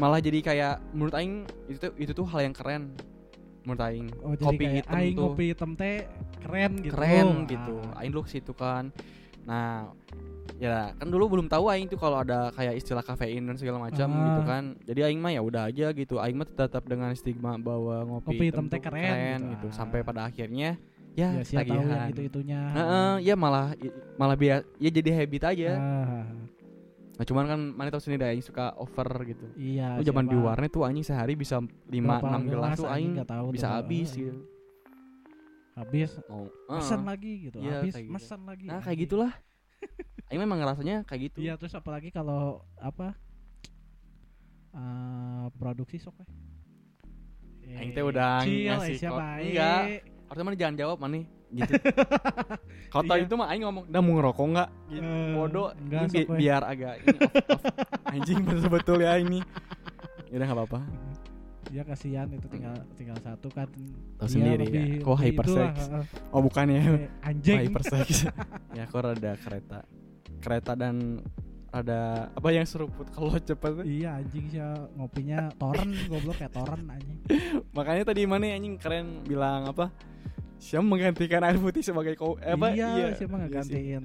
B: malah jadi kayak menurut aing itu tuh, itu tuh hal yang keren menurut aing
A: Oh, jadi
B: kopi
A: kayak
B: hitam
A: aing
B: tuh
A: kopi hitam teh keren gitu
B: keren
A: Ah,
B: gitu aing dulu ke situ kan nah ya kan dulu belum tahu aing tuh kalau ada kayak istilah kafein dan segala macam
A: Ah.
B: gitu kan jadi aing mah ya udah aja gitu aing mah tetap dengan stigma bahwa ngopi,
A: Kopi hitam teh
B: tuh
A: keren gitu.
B: gitu,
A: Ah.
B: sampai pada akhirnya
A: ya,
B: ya,
A: siapa tahu yang
B: ketagihan.
A: itu itunya
B: Heeh, ya malah malah biar ya jadi habit aja.
A: Ah,
B: Nah, cuman kan mana tahu sendiri ada yang suka over gitu.
A: iya
B: Lu zaman
A: siapa-
B: di warnet tuh anjing sehari bisa 5
A: berapa
B: 6 gelas tuh
A: anjing
B: aing
A: nggak tahu
B: bisa
A: tuh.
B: habis
A: Heeh.
B: gitu.
A: habis
B: Oh,
A: pesan lagi gitu
B: Iya,
A: habis
B: kayak gitu.
A: pesan lagi
B: Nah, kayak
A: anjing.
B: gitulah. aing memang ngerasanya kayak gitu.
A: iya terus apalagi kalau apa eh produksi sok eh
B: Aing teh udah
A: Cil,
B: ngasih
A: eh, siapa
B: kok.
A: eh?
B: Enggak. Harusnya mana jangan jawab mana
A: [laughs]
B: gitu. Kalau tadi
A: Iya.
B: itu mah aing ngomong, "Udah mau ngerokok enggak?" Gitu.
A: Eh,
B: Bodoh.
A: enggak,
B: Ini bi-
A: sok we.
B: biar agak ini off-
A: [laughs]
B: off. anjing betul-betul ya ini. Ya udah enggak apa-apa.
A: ya kasihan itu tinggal tinggal satu kan
B: Hmm. Tahu
A: Dia
B: sendiri ya.
A: lebih-
B: Kok
A: lebih
B: hypersex?
A: itulah, heeh.
B: Oh, bukan ya.
A: Eh, anjing
B: Hypersex. ya aku rada kereta. Kereta dan ada apa yang seruput kalau cepat.
A: iya anjing sih ngopinya toren goblok kayak toren anjing
B: Makanya tadi mana anjing keren bilang apa? Siam menggantikan air putih sebagai ko eh, apa?
A: iya, siapa nggak
B: Iya sih.
A: gantiin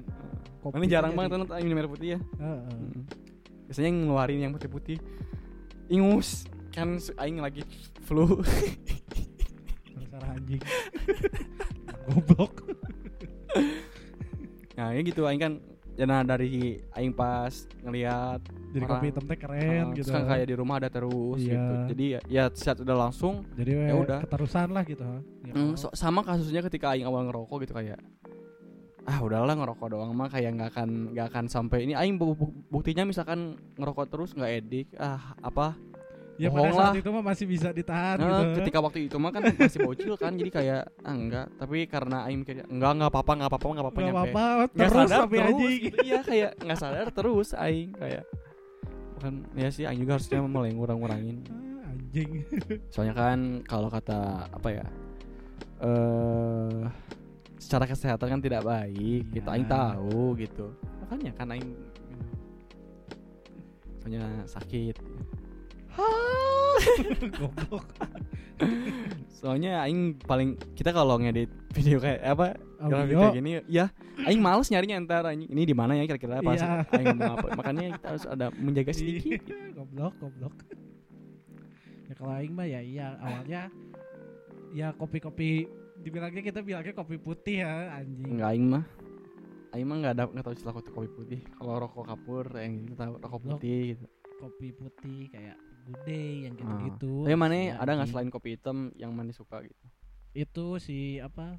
A: kopi Eh,
B: Mana jarang
A: jadi-
B: banget kan aing minum air putih ya.
A: Heeh.
B: Mm. Biasanya yang ngeluarin yang putih-putih. Ingus kan su- aing lagi flu. [laughs]
A: Dasar anjing [laughs] goblok
B: nah, ya gitu aing kan ya nah dari aing pas ngelihat
A: jadi
B: Orang.
A: kopi hitam teh keren
B: uh,
A: gitu
B: terus kan kayak di rumah ada terus
A: Iya.
B: gitu. Jadi ya, ya saat udah langsung
A: jadi
B: Ya
A: we,
B: udah.
A: keterusan lah gitu ha. Ya,
B: Hmm, so- sama kasusnya ketika aing awal ngerokok gitu kayak ah udahlah ngerokok doang mah kayak nggak akan nggak akan sampai ini aing bu- bu- buktinya misalkan ngerokok terus nggak edik ah apa
A: ya
B: bohong
A: pada saat
B: lah.
A: itu mah masih bisa ditahan
B: Nah,
A: gitu
B: ketika waktu itu mah kan masih bocil kan jadi kayak ah enggak tapi karena aing mikirnya enggak enggak apa-apa enggak apa-apa enggak apa-apa
A: nggak
B: nyampe
A: apa-apa
B: Nggak
A: terus
B: sadar
A: tapi
B: terus
A: anjing
B: gitu. iya kayak nggak sadar terus aing kayak bukan ya sih aing juga harusnya mulai ngurang-ngurangin
A: Ah, anjing [laughs]
B: Soalnya kan kalau kata apa ya? Eh secara kesehatan kan tidak baik. Kita aing
A: Iya.
B: tahu gitu. Makanya kan aing minum. Soalnya sakit.
A: goblok
B: Soalnya aing paling kita kalau ngedit video kayak apa? Grafik
A: Audio. Iya.
B: kayak gini ya aing males nyarinya entar anjing. Ini di mana ya kira-kira pas
A: Iya.
B: aing ngomong apa. Makanya kita harus ada menjaga sedikit.
A: Iya, goblok goblok ya kalau aing mah ya iya awalnya ya kopi-kopi dibilangnya kita bilangnya kopi putih ya anjing
B: Enggak aing mah. Aing mah enggak ada enggak tahu istilah kopi putih. Kalau rokok kapur yang kita tahu rokok
A: Blok.
B: putih gitu.
A: kopi putih kayak good day yang gitu-gitu
B: Ah. Tapi mana
A: Ya,
B: ada nggak
A: anjing.
B: selain kopi hitam yang mana suka gitu?
A: itu si apa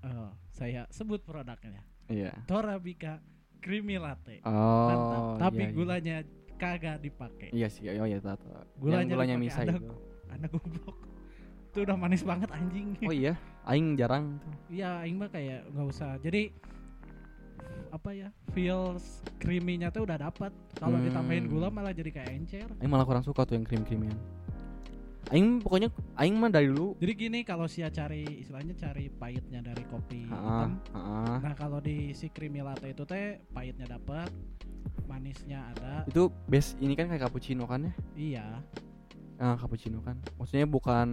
A: eh, saya sebut produknya
B: Iya.
A: Torabika creamy latte
B: Oh.
A: mantap tapi
B: iya,
A: gulanya kagak dipakai
B: Iya, Iya sih, oh iya tahu. tahu.
A: Gulanya
B: yang gulanya
A: dipakai
B: misa
A: ada-
B: itu.
A: anak goblok itu udah manis banget anjing
B: Oh iya, aing jarang.
A: Iya, aing mah kayak nggak usah. Jadi apa ya feels creamy-nya tuh udah dapat. Kalau
B: Hmm.
A: ditambahin gula malah jadi kayak encer.
B: Aing malah kurang suka tuh yang krim-krimian. Aing pokoknya aing mah dari dulu.
A: Jadi gini kalau sia cari istilahnya cari pahitnya dari kopi
B: Heeh,
A: hitam.
B: heeh.
A: Nah kalau di si creamy latte itu teh pahitnya dapat, manisnya ada.
B: Itu base ini kan kayak cappuccino kan ya?
A: Iya.
B: Ah, cappuccino kan. Maksudnya bukan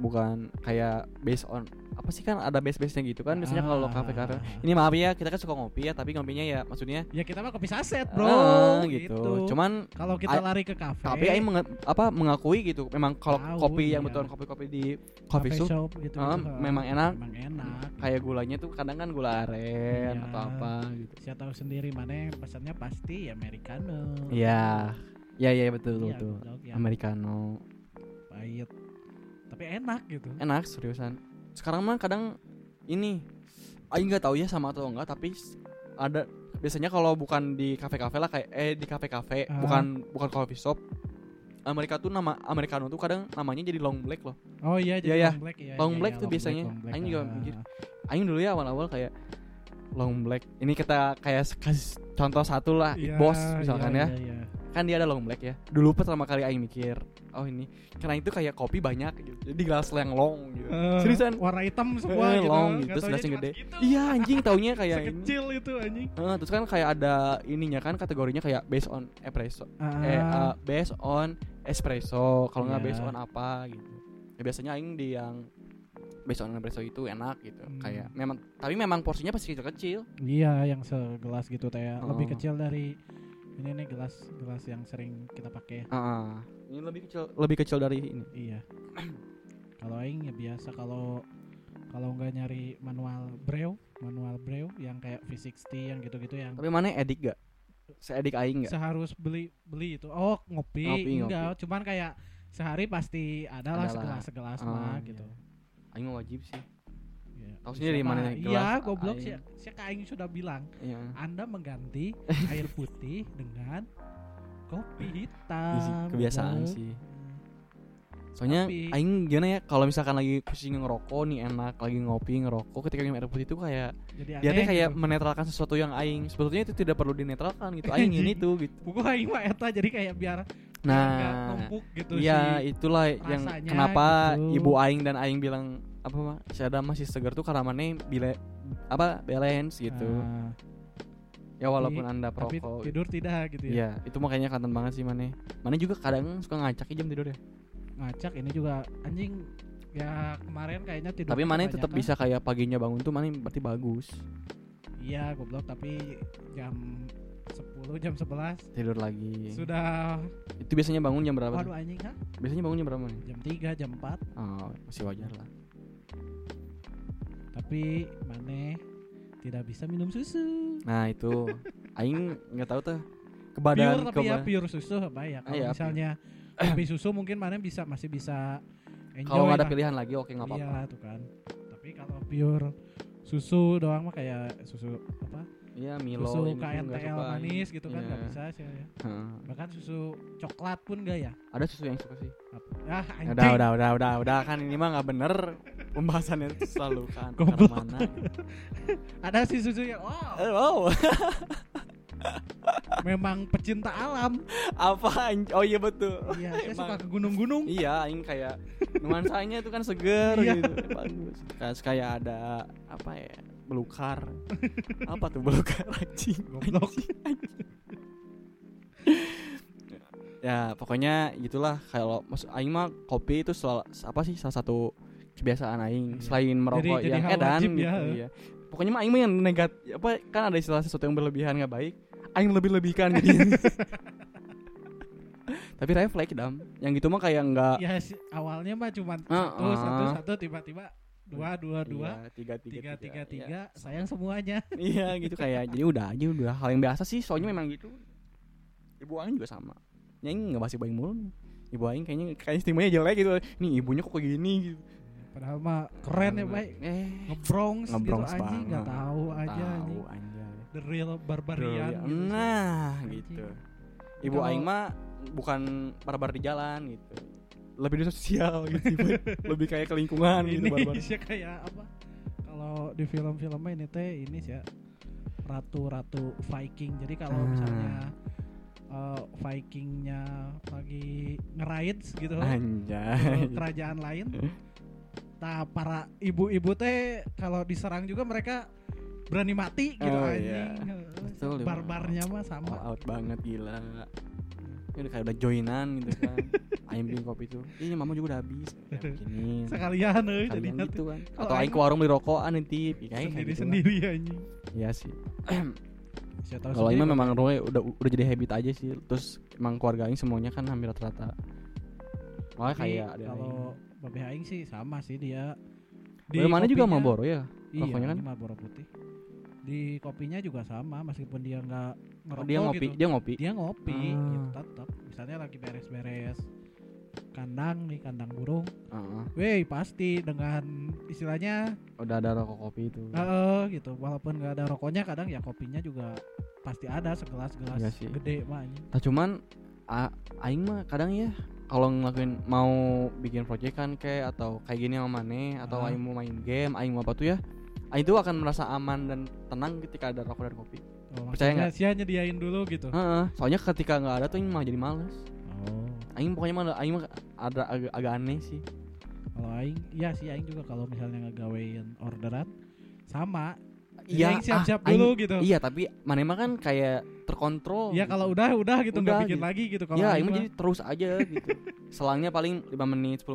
B: bukan kayak based on apa sih kan ada base base nya gitu kan biasanya kalau
A: Ah.
B: kafe kafe ini maaf ya kita kan suka ngopi ya tapi ngopinya ya maksudnya
A: ya kita mah kopi saset bro
B: "Ah,"
A: gitu.
B: gitu. cuman
A: kalau kita
B: I-
A: lari ke kafe
B: tapi Aing menge- apa mengakui gitu memang kalau
A: Tahu,
B: kopi yang
A: iya.
B: betulan kopi kopi di
A: coffee
B: coffee shop
A: gitu,
B: ah, memang enak.
A: memang enak
B: kayak gulanya tuh kadang kan gula aren
A: Iya.
B: atau apa gitu
A: saya tahu sendiri mana yang pesannya pasti americano
B: Iya ya ya betul
A: Iya,
B: betul
A: goblok, yang
B: americano
A: pahit tapi enak gitu
B: enak seriusan sekarang mah kadang ini Aing nggak tahu ya sama atau enggak tapi s- ada biasanya kalau bukan di kafe-kafe lah kayak eh di kafe-kafe
A: Ah.
B: bukan bukan coffee shop Amerika tuh nama Americano tuh kadang namanya jadi long black loh
A: oh iya jadi
B: Iya, iya.
A: long black iya,
B: Long
A: iya,
B: black
A: iya,
B: tuh biasanya.
A: long black,
B: Aing juga
A: ah.
B: mikir. Aing dulu ya awal-awal kayak long black ini kita kayak s- kasih contoh satu lah
A: Iya,
B: bos misalkan
A: iya,
B: ya
A: iya, iya.
B: kan dia ada long black ya dulu pertama kali Aing mikir oh ini karena itu kayak kopi banyak gitu. jadi gelas yang long gitu
A: Eh,
B: [laughs] seriusan
A: warna hitam semua
B: Eh,
A: gitu
B: long
A: nggak
B: gitu, terus
A: taunya
B: gelasnya
A: cuma
B: gede.
A: segitu.
B: Iya anjing taunya kayak ini.
A: sekecil itu anjing
B: Heeh, terus kan kayak ada ininya kan kategorinya kayak based on espresso. Eh
A: Ah,
B: eh, based on espresso kalau nggak
A: Iya.
B: based on apa gitu. Ya, biasanya aing di yang based on espresso itu enak gitu.
A: Hmm.
B: Kayak memang tapi memang porsinya pasti kecil-kecil.
A: iya yang segelas gitu teh ya. lebih
B: Oh.
A: kecil dari ini nih gelas gelas yang sering kita pakai ya.
B: Heeh. Ini lebih kecil lebih kecil dari ini.
A: iya kalau aing ya biasa kalau kalau nggak nyari manual brew manual brew yang kayak V60 yang gitu-gitu yang
B: Tapi mana edik gak? Seedik aing gak?
A: seharus beli beli itu oh ngopi,
B: Ngopi,
A: enggak cuman kayak sehari pasti ada lah
B: Ada lah.
A: segelas segelas
B: Oh,
A: mah
B: iya.
A: gitu
B: Aing mah wajib sih.
A: Ya,
B: Tahu sendiri
A: siapa-
B: mana yang
A: iya
B: gelas
A: goblok
B: air.
A: sih saya kaing sudah bilang
B: Iya.
A: anda
B: [laughs]
A: mengganti air putih dengan kopi hitam
B: Iya sih, kebiasaan
A: bener.
B: sih. Soalnya
A: Ah, Tapi-
B: aing gimana ya kalau misalkan lagi pusing ngerokok nih enak lagi ngopi ngerokok ketika minum air putih itu kayak
A: jadi
B: dia tuh
A: aneh
B: kayak
A: gitu.
B: menetralkan sesuatu yang aing sebetulnya itu tidak perlu dinetralkan gitu aing
A: [laughs]
B: ini tuh gitu.
A: buku aing mah eta jadi kayak biar nggak
B: Nah,
A: numpuk gitu
B: iya
A: sih
B: itulah yang
A: rasanya
B: kenapa
A: gitu.
B: ibu aing dan aing bilang apa mah si Adam masih segar tuh karena mana bile apa balance gitu.
A: Ah,
B: ya walaupun
A: tapi-
B: Anda
A: iya, tapi
B: perokok. gitu.
A: tidur tidak gitu ya
B: Iya, itu makanya kanten banget sih mana. Mana juga kadang suka ngacak ya jam tidur ya.
A: ngacak ini juga anjing ya kemarin kayaknya tidur
B: Tapi mana tetap
A: kebanyakan.
B: bisa kayak paginya bangun tuh mana berarti bagus.
A: Iya goblok tapi jam 10 jam 11
B: Tidur lagi.
A: sudah
B: Itu biasanya bangun jam berapa? Iya. tuh?
A: waduh anjing kan
B: Biasanya bangun jam berapa nih?
A: jam 3 jam 4
B: Oh, masih wajar lah.
A: tapi maneh tidak bisa minum susu.
B: Nah, itu aing nggak tahu tuh
A: Pure
B: kebadan
A: tapi ya
B: keba-
A: pure susu apa ya kalau
B: Ah, iya,
A: misalnya kopi susu mungkin maneh bisa masih bisa enjoy.
B: Kalau nggak ada
A: lah.
B: pilihan lagi oke nggak apa-apa.
A: Iya tuh kan. Tapi kalau pure susu doang mah kayak susu apa?
B: Iya, Milo
A: susu
B: ini tuh nggak
A: KNTL
B: suka,
A: manis gitu kan
B: Iya.
A: nggak bisa sih ya.
B: Heeh.
A: Bahkan susu coklat pun enggak ya?
B: Ada susu yang suka sih.
A: Apa- Ah anjing.
B: Udah, udah, udah, udah, udah kan ini mah nggak bener pembahasannya itu selalu kan karena
A: Goblok.
B: mana.
A: Ada sih susu yang oh,
B: Eh, Wow,
A: memang pecinta alam.
B: apa? anj- Oh iya betul.
A: Iya, saya
B: Emang.
A: suka ke gunung-gunung.
B: Iya, aing kayak nuansanya itu kan seger
A: Iya.
B: gitu, bagus. Kayak kayak ada apa ya? Belukar. apa tuh belukar anjing?
A: Goblok.
B: Ya, pokoknya gitulah kalau mas aing mah kopi itu sel- apa sih salah satu kebiasaan aing
A: Iya.
B: selain merokok
A: Jadi- jadi
B: yang
A: hal
B: edan
A: wajib
B: gitu.
A: ya.
B: Iya. Pokoknya mah aing mah yang negat apa kan ada istilah sesuatu yang berlebihan nggak baik. Aing lebih-lebihkan
A: [laughs]
B: jadi. Tapi refleks dam, yang gitu mah kayak nggak
A: ya si- awalnya mah cuma
B: Ah,
A: satu, satu,
B: ah.
A: satu, tiba-tiba dua, dua, dua,
B: Iya, tiga
A: tiga, tiga, tiga, sayang semuanya.
B: Iya gitu kayak jadi udah aja udah hal yang biasa sih soalnya memang gitu. Ibu Aing juga sama. Ya ini nggak bahas ibu Aing mulu. nih. Ibu Aing kayaknya kayaknya stigmanya jelek gitu. Nih ibunya kok kayak gini gitu.
A: Padahal mah keren ya, baik.
B: Eh.
A: Ngebrongs,
B: Ngebrongs
A: gitu anjing, nggak
B: banget.
A: tahu aja
B: Tahu
A: anjing.
B: anjay.
A: The real
B: Tuh,
A: barbarian.
B: ya.
A: gitu sih.
B: Nah, gitu. Ibu
A: Kalau-
B: Aing mah bukan barbar di jalan gitu. Lebih di sosial [laughs] gitu. Ibu. Lebih kayak ke lingkungan gitu
A: [laughs]
B: barbar.
A: ini sih kayak apa? Kalau di film-filmnya ini teh ini sih ya ratu-ratu Viking. Jadi kalau
B: Ah.
A: misalnya eh, Vikingnya lagi ngerides gitu ke
B: Ah, Anjay.
A: kerajaan lain. Nah para ibu-ibu teh kalau diserang juga mereka berani mati gitu
B: Oh,
A: anjing.
B: iya.
A: Heeh,
B: Betul, Oh,
A: Barbarnya mah
B: All
A: sama.
B: out banget gila. Ya udah kayak udah joinan gitu
A: [laughs]
B: kan aing bikin kopi tuh ini mama juga udah habis ya begini
A: sekalian euy
B: Kalian
A: jadinya
B: gitu
A: tuh
B: kan
A: Kalau
B: atau aing
A: aing
B: ke warung beli rokokan nanti ya aing kayak
A: sendiri
B: gitu
A: sendiri anjing
B: lah. Iya sih
A: Saya tahu sendiri
B: kalau ini
A: kok.
B: memang Roy udah udah jadi habit aja sih terus emang keluarga aing semuanya kan hampir rata-rata Wah
A: Tapi
B: kayak ada
A: kalau babe aing sih sama sih dia
B: Di mana juga
A: kopinya-
B: Marlboro ya?
A: iya,
B: rokoknya kan?
A: ini Marlboro putih di kopinya juga sama meskipun dia nggak ngerokok
B: Oh, Dia ngopi,
A: gitu.
B: dia ngopi.
A: dia ngopi gitu,
B: Ah.
A: tetap misalnya lagi beres-beres kandang nih kandang burung
B: Heeh.
A: Weh pasti dengan istilahnya
B: udah ada rokok kopi itu.
A: eh gitu walaupun nggak ada rokoknya kadang ya kopinya juga pasti ada segelas gelas
B: Iya sih.
A: gede mah anjing.
B: Nah cuman a- aing mah kadang ya kalau ngelakuin mau bikin project kan kayak atau kayak gini sama Mane atau
A: Ah.
B: aing mau main game, aing mau apa tuh ya. Aing tuh akan merasa aman dan tenang ketika ada rokok dan kopi.
A: Oh,
B: Percaya
A: maksudnya sia nyediain dulu gitu.
B: Heeh, soalnya ketika nggak ada tuh aing malah jadi males.
A: Oh,
B: Aing pokoknya malah aing mah ada agak, agak aneh sih.
A: kalau aing iya sih aing juga kalau misalnya ngegawein orderan sama. Jadi
B: Iya,
A: aing siap-siap
B: ah, aing-
A: dulu gitu.
B: Iya, tapi Mane mah kan kayak terkontrol.
A: Iya
B: gitu.
A: kalau udah udah gitu
B: Udah
A: nggak bikin
B: gitu.
A: lagi gitu kalau
B: Iya,
A: aing
B: ini
A: mah.
B: jadi terus aja gitu. Selangnya paling 5 menit, 10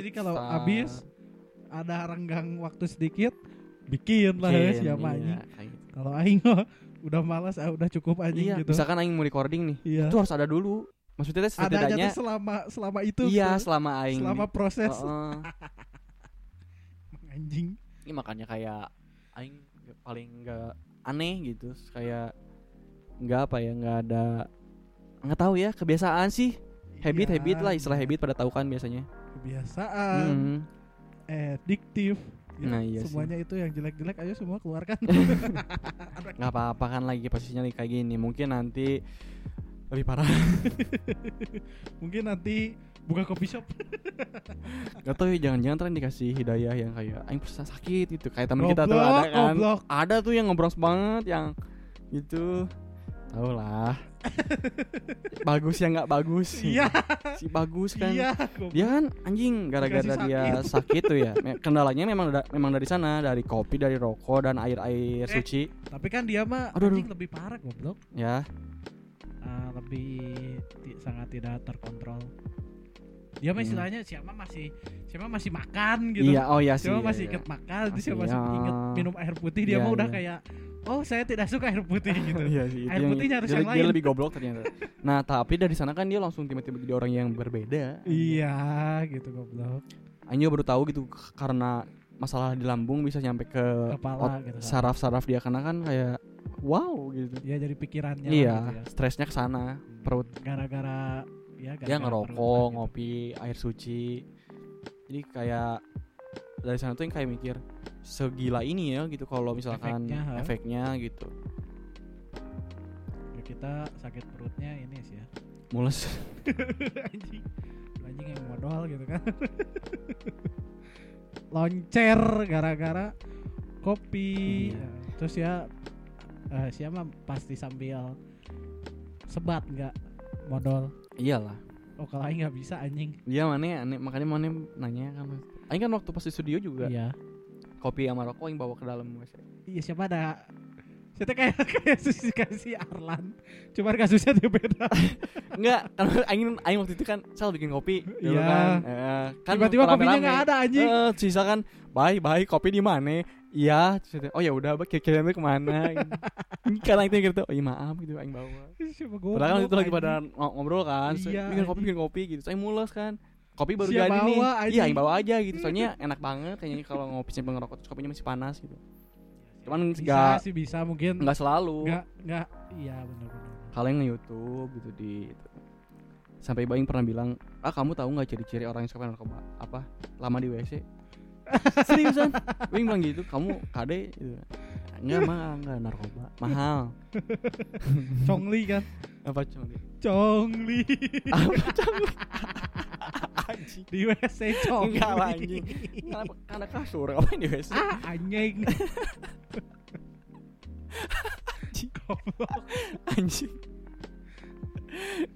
A: Ya,
B: Iya,
A: jadi kalau
B: setelah-
A: habis ada renggang waktu sedikit bikin lah ya
B: Bikin,
A: siapa
B: iya,
A: anjing.
B: kayak gitu.
A: Kalau aing mah udah malas ah udah cukup anjing
B: Iya,
A: gitu.
B: misalkan aing mau recording nih,
A: Iya.
B: itu harus ada dulu. Maksudnya
A: Ada
B: teh
A: aja
B: setidaknya
A: tuh selama selama itu.
B: iya
A: gitu.
B: selama aing.
A: selama
B: di-
A: proses
B: Heeh.
A: anjing.
B: Ini makanya kayak aing nggak- paling enggak aneh gitu, kayak enggak apa ya, enggak ada enggak tahu ya, kebiasaan sih.
A: Iya,
B: Habit-habit lah istilah
A: iya.
B: habit pada tahu kan biasanya.
A: Kebiasaan,
B: Mm.
A: addiktif. Ya,
B: Nah, iya sih.
A: semuanya itu yang jelek-jelek ayo semua keluarkan.
B: [laughs] nggak apa-apa kan lagi posisinya lagi kayak gini mungkin nanti lebih parah [laughs]
A: Mungkin nanti buka coffee
B: [laughs]
A: shop.
B: nggak tahu ya jangan-jangan tren dikasih hidayah yang kayak aing pernah sakit gitu kayak teman kita tuh
A: Goblok,
B: ada kan
A: goblok.
B: ada tuh yang ngebrongs banget yang gitu tau lah bagus ya nggak bagus
A: [laughs] Iya,
B: si bagus kan
A: iya.
B: dia kan anjing gara-gara
A: Dikasih
B: dia sakit tuh
A: [laughs]
B: ya Me- kendalanya memang da- memang dari sana dari kopi dari rokok dan air-air
A: Eh.
B: suci
A: Tapi kan dia mah
B: Aduh,
A: anjing lebih parah goblok.
B: ya
A: Ah, lebih ti- sangat tidak terkontrol. Dia mah
B: Hmm.
A: istilahnya siapa masih siapa masih makan gitu.
B: iya oh iya sih
A: Siapa
B: iya,
A: masih
B: iya.
A: inget makan,
B: Masih,
A: siapa masih
B: iya.
A: inget minum air putih, dia
B: Iya,
A: mah udah
B: iya.
A: kayak oh, saya tidak suka air
B: [laughs]
A: putih gitu.
B: Iya sih, itu
A: Air
B: yang-
A: putihnya harus
B: dia,
A: yang
B: dia
A: lain.
B: lebih goblok ternyata. Nah, tapi dari sana kan dia langsung tiba-tiba jadi orang yang berbeda.
A: Iya gitu goblok
B: Anjing baru tahu gitu k- karena masalah di lambung bisa nyampe ke
A: kepala gitu kan.
B: saraf-saraf dia karena kan kayak wow gitu.
A: Iya jadi pikirannya lah
B: iya,
A: gitu ya.
B: stresnya ke sana, perut.
A: Gara-gara ya gara
B: Dia ngerokok, ngopi, air suci. Jadi kayak dari sana tuh yang kayak mikir segila ini ya gitu kalau misalkan
A: Efeknya, ha?
B: efeknya gitu.
A: Ya, Kita sakit perutnya ini sih ya
B: Mules. [laughs]
A: Anjing Anjing yang modal gitu kan [laughs] Loncer gara-gara kopi
B: Iya.
A: Terus ya eh siapa pasti sambil sebat nggak modal
B: Iyalah.
A: Oh kalau Aing nggak bisa anjing
B: Dia mana aneh makanya mana nanya kan. Aing kan waktu pas di studio juga
A: Iya
B: kopi sama rokok yang bawa ke dalam biasanya.
A: Iya siapa ada Saya tuh kayak [laughs] kayak si, kayak si Arlan Cuman kasusnya dia beda
B: Enggak, [laughs] karena aing aing waktu itu kan sel bikin kopi dulu
A: Iya.
B: kan. Eh, kan
A: Tiba-tiba kopinya
B: rame-rame.
A: nggak ada anjing
B: Eh, sisa kan bye bye kopi di mana? Iya, terus dia, oh ya udah Abah, kira-kira itu kemana gitu. [laughs] Karena itu gitu, oh iya maaf gitu aing bawa.
A: [laughs] Siapa goblok,
B: Padahal kan itu lagi
A: anjing.
B: pada ngo- ngobrol kan, so,
A: Iya,
B: bikin kopi
A: anjing.
B: bikin kopi gitu. Saya mules kan. Kopi baru
A: Siap
B: jadi nih.
A: bawa,
B: Iya,
A: anjing.
B: aing bawa aja gitu. Soalnya enak banget kayaknya kalau ngopi sambil ngerokok terus kopinya masih panas gitu. Cuman
A: Iya, Bisa
B: enggak
A: sih bisa mungkin
B: enggak selalu.
A: Enggak Enggak Iya benar-benar
B: kalian nge YouTube gitu di sampai Baing pernah bilang ah kamu tahu nggak ciri-ciri orang yang suka narkoba apa lama di WC [laughs] seriusan Baing bilang gitu kamu kade gitu. enggak mah enggak narkoba mahal
A: Chongli kan
B: apa cuma gitu? di-
A: Chongli
B: apa cuma anjing
A: Di E WC Chongli
B: enggak lah anjing kenapa karena kasur ngapain di WC
A: Ah anjing Goblok
B: anjing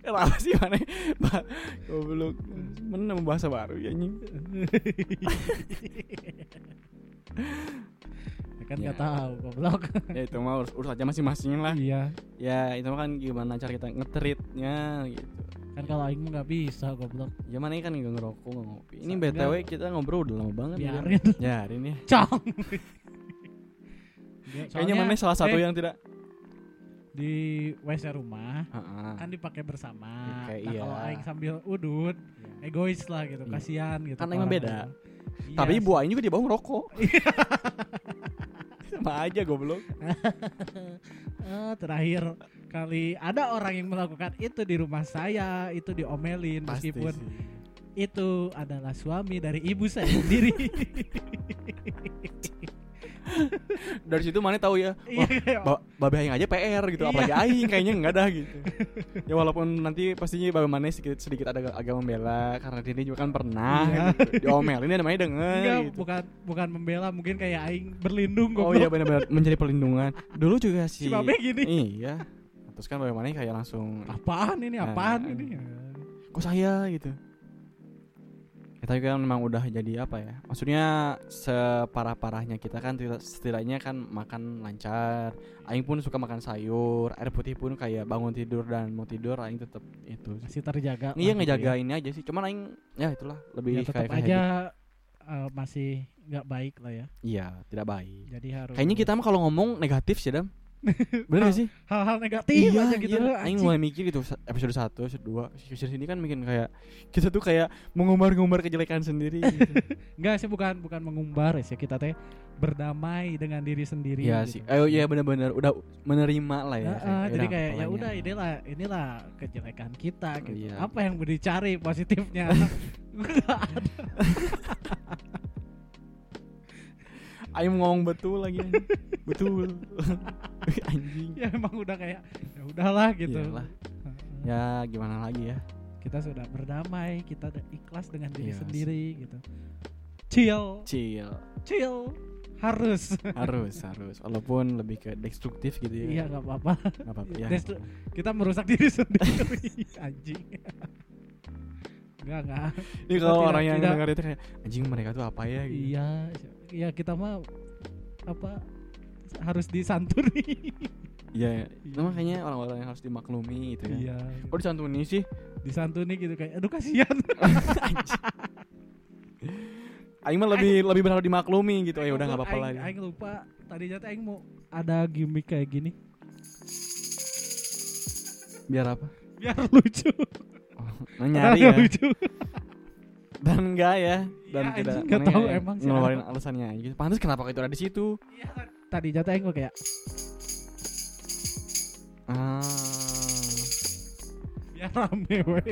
B: kenapa sih mana Ba- goblok mana nemu bahasa baru ya anjing
A: Ya kan
B: Ya. Ah.
A: nggak tahu goblok
B: ya itu mah urus, urus aja masing-masing lah
A: Iya
B: ya itu mah kan gimana cara kita ngetritnya gitu
A: kan kalau aing mah nggak bisa goblok
B: Zaman ini kan nggak ngerokok nggak ngopi. Ini
A: Sa-
B: btw kita ngobrol udah lama banget. ya.
A: biarin
B: Biarin ya.
A: cong
B: Kayaknya mana salah satu
A: eh,
B: yang tidak.
A: di wc rumah
B: Heeh.
A: kan dipakai bersama
B: Ah. Oke,
A: nah
B: iya.
A: kalau aing sambil udut egois lah gitu
B: Iya.
A: kasihan gitu
B: Kan aing mah
A: orang.
B: beda.
A: Iya
B: Tapi
A: sih.
B: ibu Aing juga dia bawa
A: [laughs]
B: ngerokok. Sama aja goblok.
A: Eh, terakhir kali ada orang yang melakukan itu di rumah saya itu diomelin meskipun itu adalah suami dari ibu saya sendiri
B: Dari situ mana tahu ya.
A: Iya,
B: [laughs] Wah,
A: kayak,
B: ba babe aing aja PR gitu,
A: Iya.
B: apalagi aing kayaknya enggak dah
A: [laughs]
B: gitu. ya walaupun nanti pastinya babe mana sedikit sedikit ada agak membela karena dia juga kan pernah
A: Iya.
B: gitu. diomelin ada namanya denger
A: enggak,
B: gitu.
A: bukan bukan membela mungkin kayak aing berlindung
B: Oh
A: goblok.
B: iya benar-benar menjadi perlindungan. Dulu juga
A: si
B: si
A: babe gini
B: Iya. Terus kan babe mana kayak langsung
A: apaan ini apaan
B: Nah.
A: ini
B: kok saya gitu kita juga memang udah jadi apa ya maksudnya separah parahnya kita kan tidak- setidaknya kan makan lancar aing pun suka makan sayur air putih pun kayak bangun tidur dan mau tidur aing tetap itu sih.
A: masih terjaga lah
B: iya
A: gitu
B: ngejaga
A: ya.
B: ini aja sih cuman aing ya itulah
A: ya
B: lebih gitu.
A: tetap
B: kayak kayak
A: aja
B: hidup.
A: eh, masih nggak baik lah ya
B: iya tidak baik
A: jadi harus
B: kayaknya kita mah kalau ngomong negatif sih
A: [laughs]
B: dam bener gak sih
A: hal-hal negatif
B: iya,
A: aja gitu
B: iya.
A: loh,
B: Aing
A: anjing.
B: mulai mikir gitu sa- episode 1, episode 2 Episode ini kan bikin kayak Kita tuh kayak mengumbar-ngumbar kejelekan sendiri gitu.
A: Enggak Iya sih bukan bukan mengumbar sih kita teh berdamai dengan diri sendiri.
B: Iya sih
A: gitu.
B: Ayo ya benar-benar udah menerima lah ya
A: Heeh,
B: kayak, "Ya
A: jadi
B: udah,
A: kayak ya
B: apalagi
A: udah inilah inilah kejelekan kita gitu.
B: Iya.
A: Apa yang mau dicari
B: [laughs]
A: positifnya? Nggak ada.
B: Aing ngomong betul
A: [laughs]
B: lagi anjing. Betul [laughs] Anjing
A: ya emang udah kayak ya udahlah gitu.
B: Iyalah.
A: Heeh.
B: Ya gimana lagi ya
A: Kita sudah berdamai, kita udah ikhlas dengan diri
B: Iya sih.
A: sendiri gitu. Chill,
B: Chill
A: chill harus.
B: Harus harus Walaupun lebih ke destruktif gitu ya
A: [laughs] Iya nggak apa-apa.
B: Nggak apa-apa ya.
A: Destru- Kita merusak diri [laughs] sendiri, anjing. [laughs] Enggak enggak.
B: Ini kalau
A: Tidak-
B: orang yang
A: tidak.
B: denger itu kayak Anjing mereka tuh apa ya gitu
A: Iya, iya kita mah apa harus disantuni.
B: Iya Itu makanya orang-orang yang harus dimaklumi gitu ya
A: Iya.
B: Oh disantuni sih
A: Disantuni gitu kayak aduh kasihan.
B: Aing mah lebih lebih berharap dimaklumi gitu. Ya udah nggak
A: Goblok,
B: apa-apa
A: aing-
B: lagi.
A: Aing lupa tadinya teh aing mau ada gimmick kayak gini
B: Biar apa?
A: biar [laughs] lucu. Padahal
B: Nah, nyari ya.
A: nggak lucu.
B: Dan enggak ya. Dan
A: Iya,
B: tidak.
A: anjing, nggak
B: mana
A: tahu
B: ya,
A: emang sih
B: ngeluarin alasannya. Gitu. Pantes kenapa itu ada di situ?
A: Iya.
B: kan.
A: Tadinya teh aing mau kayak
B: Ah.
A: biar rame we.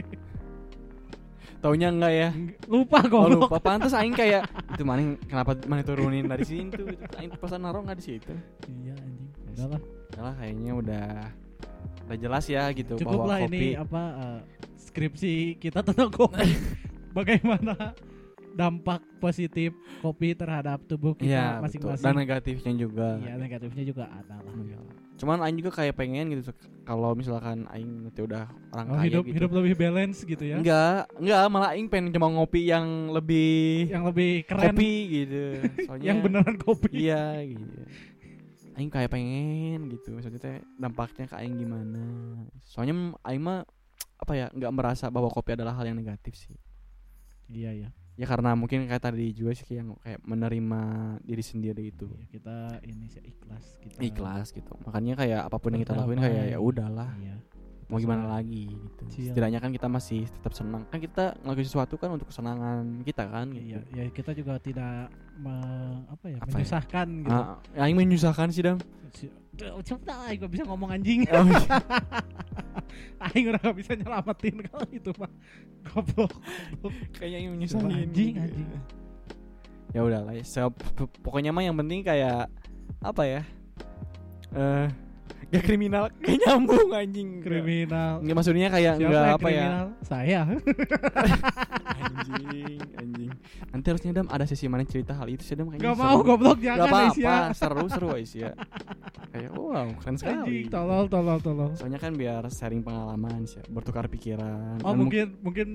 B: Taunya enggak ya?
A: [laughs] Lupa
B: Oh
A: goblok.
B: lupa pantes aing kayak itu maning kenapa mana turunin dari situ? Itu Aing pesan naruh enggak di situ?
A: Iya anjing. Udahlah.
B: Yalah kayaknya udah udah jelas ya gitu
A: Cukup
B: bahwa
A: lah
B: kopi
A: ini apa eh, skripsi kita tentang
B: [laughs]
A: kopi. Bagaimana dampak positif kopi terhadap tubuh
B: Iya,
A: kita
B: betul.
A: masing-masing.
B: dan negatifnya juga.
A: Iya negatifnya juga ada lah.
B: Cuman aing juga kayak pengen gitu kalau misalkan aing nanti udah orang
A: Oh,
B: kaya
A: hidup
B: gitu.
A: hidup lebih balance gitu ya.
B: Enggak, enggak malah aing pengen cuma ngopi yang lebih
A: Yang lebih keren,
B: kopi gitu.
A: [laughs]
B: Soalnya
A: yang beneran kopi.
B: Iya gitu. Aing kayak pengen gitu. Maksudnya teh dampaknya ke aing gimana? Soalnya m- aing mah apa ya, enggak merasa bahwa kopi adalah hal yang negatif sih.
A: Iya iya.
B: Ya karena mungkin kayak tadi juga sih yang kayak menerima diri sendiri itu.
A: Iya, kita ini sih ikhlas kita.
B: Ikhlas gitu. Makanya kayak apapun yang kita lakuin
A: Berdamai.
B: kayak ya udahlah.
A: Iya.
B: mau gimana
A: Terserah.
B: lagi gitu.
A: Chill.
B: Setidaknya kan kita masih tetap senang. Kan kita ngelakuin sesuatu kan untuk kesenangan kita kan
A: Iya,
B: gitu.
A: ya kita juga tidak me- apa ya,
B: Apa ya?
A: menyusahkan gitu.
B: Ah, aing menyusahkan sih [laughs] Dam.
A: Si- Duh, Cepet aing gak bisa ngomong anjing.
B: Ah.
A: [laughs] aing udah gak bisa nyelamatin kalau itu mah. Goblok.
B: Kayaknya aing
A: menyusahin gitu.
B: Ya udahlah, ya. So, p- pokoknya mah yang penting kayak apa ya? Eh, gak kriminal, [laughs] kayak nyambung anjing.
A: Kriminal.
B: Nggak, maksudnya kayak
A: Siapa
B: nggak
A: yang
B: apa ya?
A: kriminal? Saya.
B: Anjing, anjing. Nanti harusnya Dam ada sesi mana cerita hal itu sih Dam kayaknya.
A: Gak mau
B: seru.
A: goblok
B: Gak
A: jangan
B: apa-apa,
A: Aisyah.
B: seru-seru Aisyah. Kayak wow, keren sekali.
A: Anjing, tolol, tolol, tolol.
B: Soalnya kan biar sharing pengalaman sih, bertukar pikiran.
A: Oh
B: Dan mung-
A: mungkin mungkin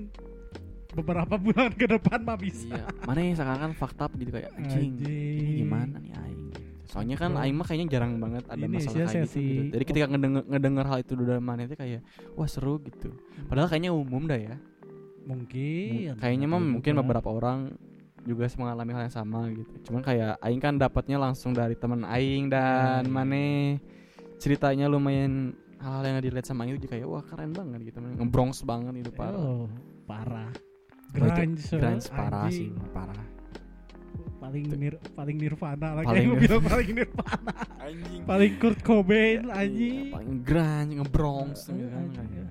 A: beberapa [laughs] bulan ke depan mah bisa.
B: Iya. Mana yang sekarang kan fakta gitu kayak anjing. Ini
A: Anjing.
B: gimana nih aing? gitu. soalnya kan
A: Betul.
B: Aing mah kayaknya jarang banget ada
A: Ini
B: masalah
A: sih
B: kayak gitu,
A: sesi-
B: gitu. jadi ketika ngedenger, ngedenger hal itu udah mana itu kayak wah seru gitu
A: Hmm.
B: padahal kayaknya umum dah ya
A: mungkin
B: kayaknya mah
A: Betul
B: mungkin
A: Iya, juga.
B: beberapa orang juga mengalami hal yang sama gitu cuman kayak Aing kan dapatnya langsung dari teman Aing dan
A: Hmm.
B: Mane ceritanya lumayan hal-hal yang dilihat sama Aing itu kayak wah keren banget gitu ngebrongs banget gitu parah
A: Oh, parah
B: Wah, itu
A: grunge eh,
B: Grunge parah
A: anjing.
B: sih parah
A: paling
B: Itu-
A: nir, paling nirvana lah
B: Paling
A: paling
B: nir-
A: bilang paling
B: [laughs]
A: nirvana
B: anjing
A: paling Kurt Cobain anjing
B: Iya, paling grunge ngebrongs
A: Eh,
B: gitu kan
A: anjing,
B: kayak.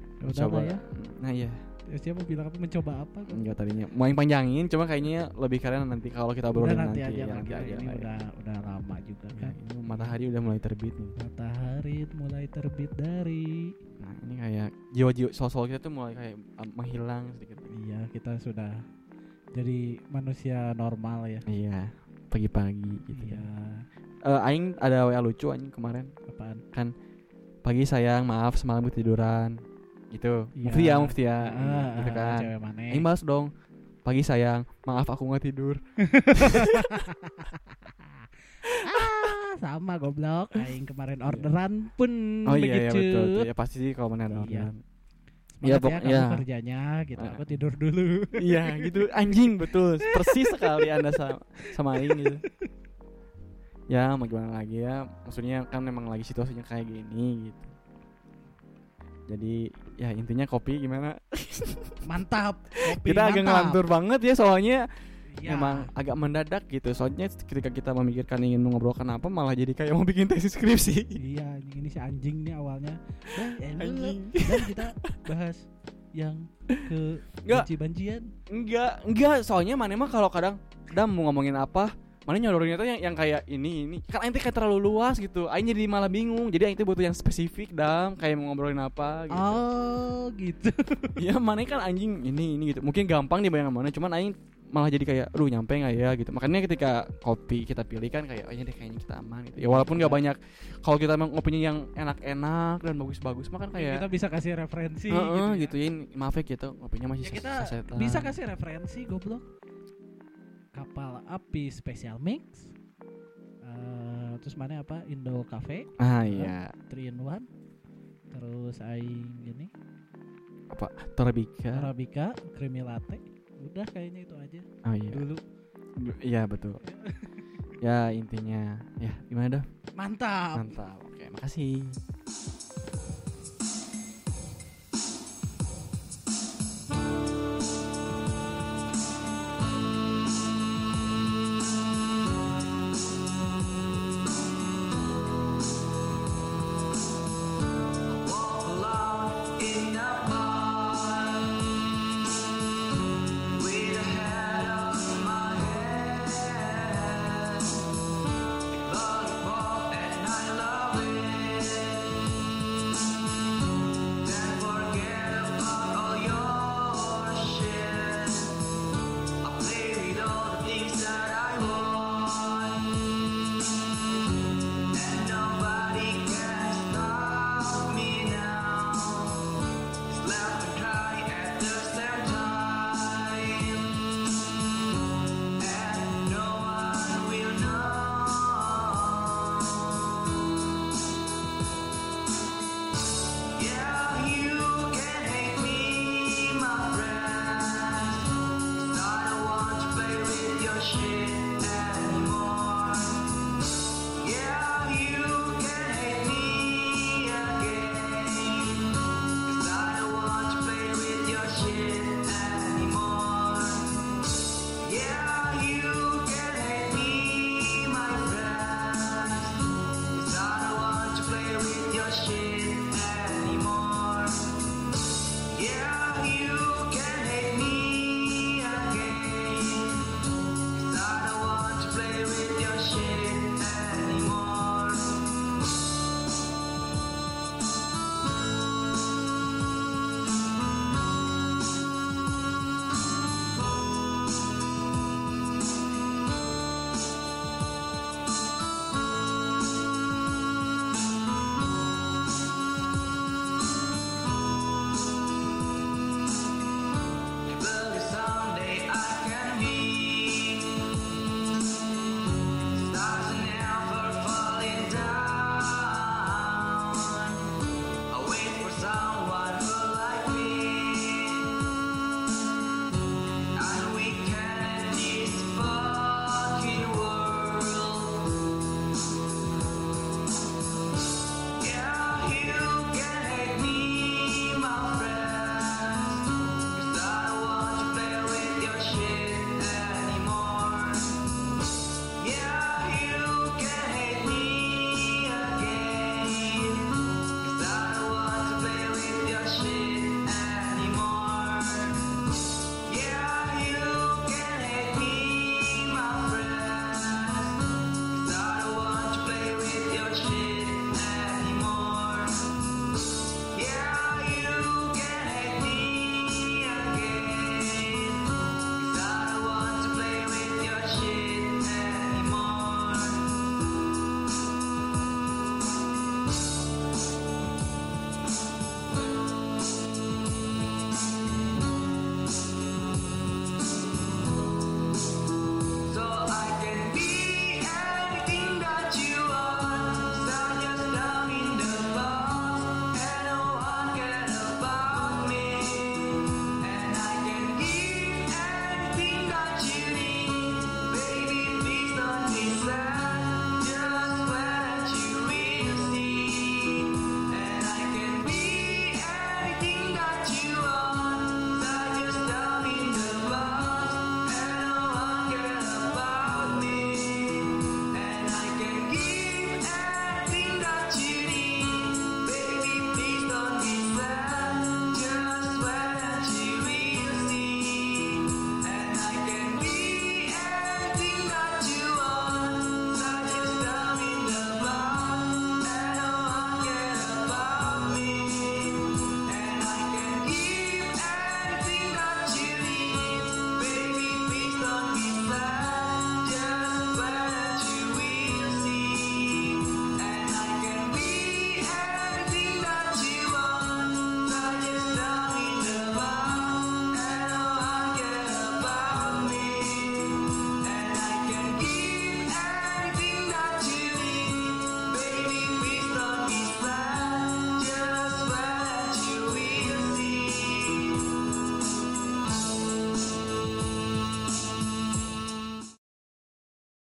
A: ya udah
B: Coba-
A: lah ya
B: nah iya
A: Ya, siapa bilang apa mencoba apa kan?
B: enggak tadinya mau yang panjangin cuma kayaknya lebih keren nanti kalau kita
A: udah
B: obrolin
A: nanti,
B: nanti,
A: aja
B: ya,
A: lah
B: nanti
A: kita
B: aja
A: ini
B: lah ya.
A: udah udah lama juga
B: Ya,
A: kan
B: ini matahari udah mulai terbit nih
A: matahari mulai terbit dari
B: Nah ini kayak jiwa-jiwa sosok kita tuh mulai kayak um, menghilang sedikit.
A: iya kita sudah jadi manusia normal ya
B: Iya pagi-pagi gitu.
A: iya
B: ya. Eh, Aing ada WA lucu anjing kemarin.
A: apaan
B: Pagi sayang maaf semalam ketiduran gitu.
A: Iya.
B: Mufti ya mufti ya
A: Ah,
B: gitu
A: ah,
B: kan.
A: cewek mana
B: Aing balas dong. Pagi sayang maaf aku nggak tidur.
A: [laughs] ah sama goblok aing kemarin orderan pun
B: Iya. Oh iya, iya
A: begitu
B: betul. betul. Ya pasti sih kalau mana ada
A: Iya.
B: orderan.
A: Semangat ya
B: Iya, pokok-
A: kamu
B: iya.
A: kerjanya gitu
B: Ah.
A: aku tidur dulu [laughs]
B: Iya gitu anjing betul persis sekali anda sama, sama Aing gitu. Ya mau gimana lagi ya maksudnya kan memang lagi situasinya kayak gini gitu. Jadi ya intinya kopi gimana?
A: mantap kopi
B: kita agak
A: mantap.
B: ngelantur banget ya soalnya
A: Iya.
B: memang agak mendadak gitu. Soalnya ketika kita memikirkan ingin mengobrolkan apa malah jadi kayak mau bikin tesis skripsi.
A: iya anjing ini si anjing nih awalnya dan, eh,
B: Anjing.
A: dan kita bahas yang ke
B: Nggak.
A: banci bancian
B: Enggak, enggak. Soalnya mana mah kalau kadang udah mau ngomongin apa, mana nyolorinnya tuh yang, yang kayak ini ini. Kan ente kayak terlalu luas gitu. Aing jadi malah bingung. Jadi aing tuh butuh yang spesifik dam, kayak mau ngobrolin apa gitu. [laughs]
A: oh gitu
B: Iya, mana kan anjing ini ini gitu. Mungkin gampang dibayangin mana, cuman aing malah jadi kayak aduh nyampe nggak ya gitu makanya ketika kopi kita pilih kan kayak oh iya deh kayaknya kita aman gitu ya walaupun nggak banyak kalau kita emang ngopinya yang enak-enak dan bagus-bagus mah kan
A: Iya,
B: kayak
A: kita bisa kasih referensi
B: "Eh, eh,"
A: gitu, ya.
B: gitu, ya maaf ya gitu ngopinya masih
A: Ya, kita
B: sesetan.
A: bisa kasih referensi goblok kapal api special mix Eh, terus mana apa Indo Cafe
B: ah iya
A: 3 in 1 terus aing ini
B: apa
A: Ya.
B: Torabika
A: Arabica creamy latte udah kayaknya itu aja
B: Oh iya,
A: dulu
B: Du- iya betul. ya intinya, ya gimana dah?
A: mantap
B: Mantap. Oke, makasih.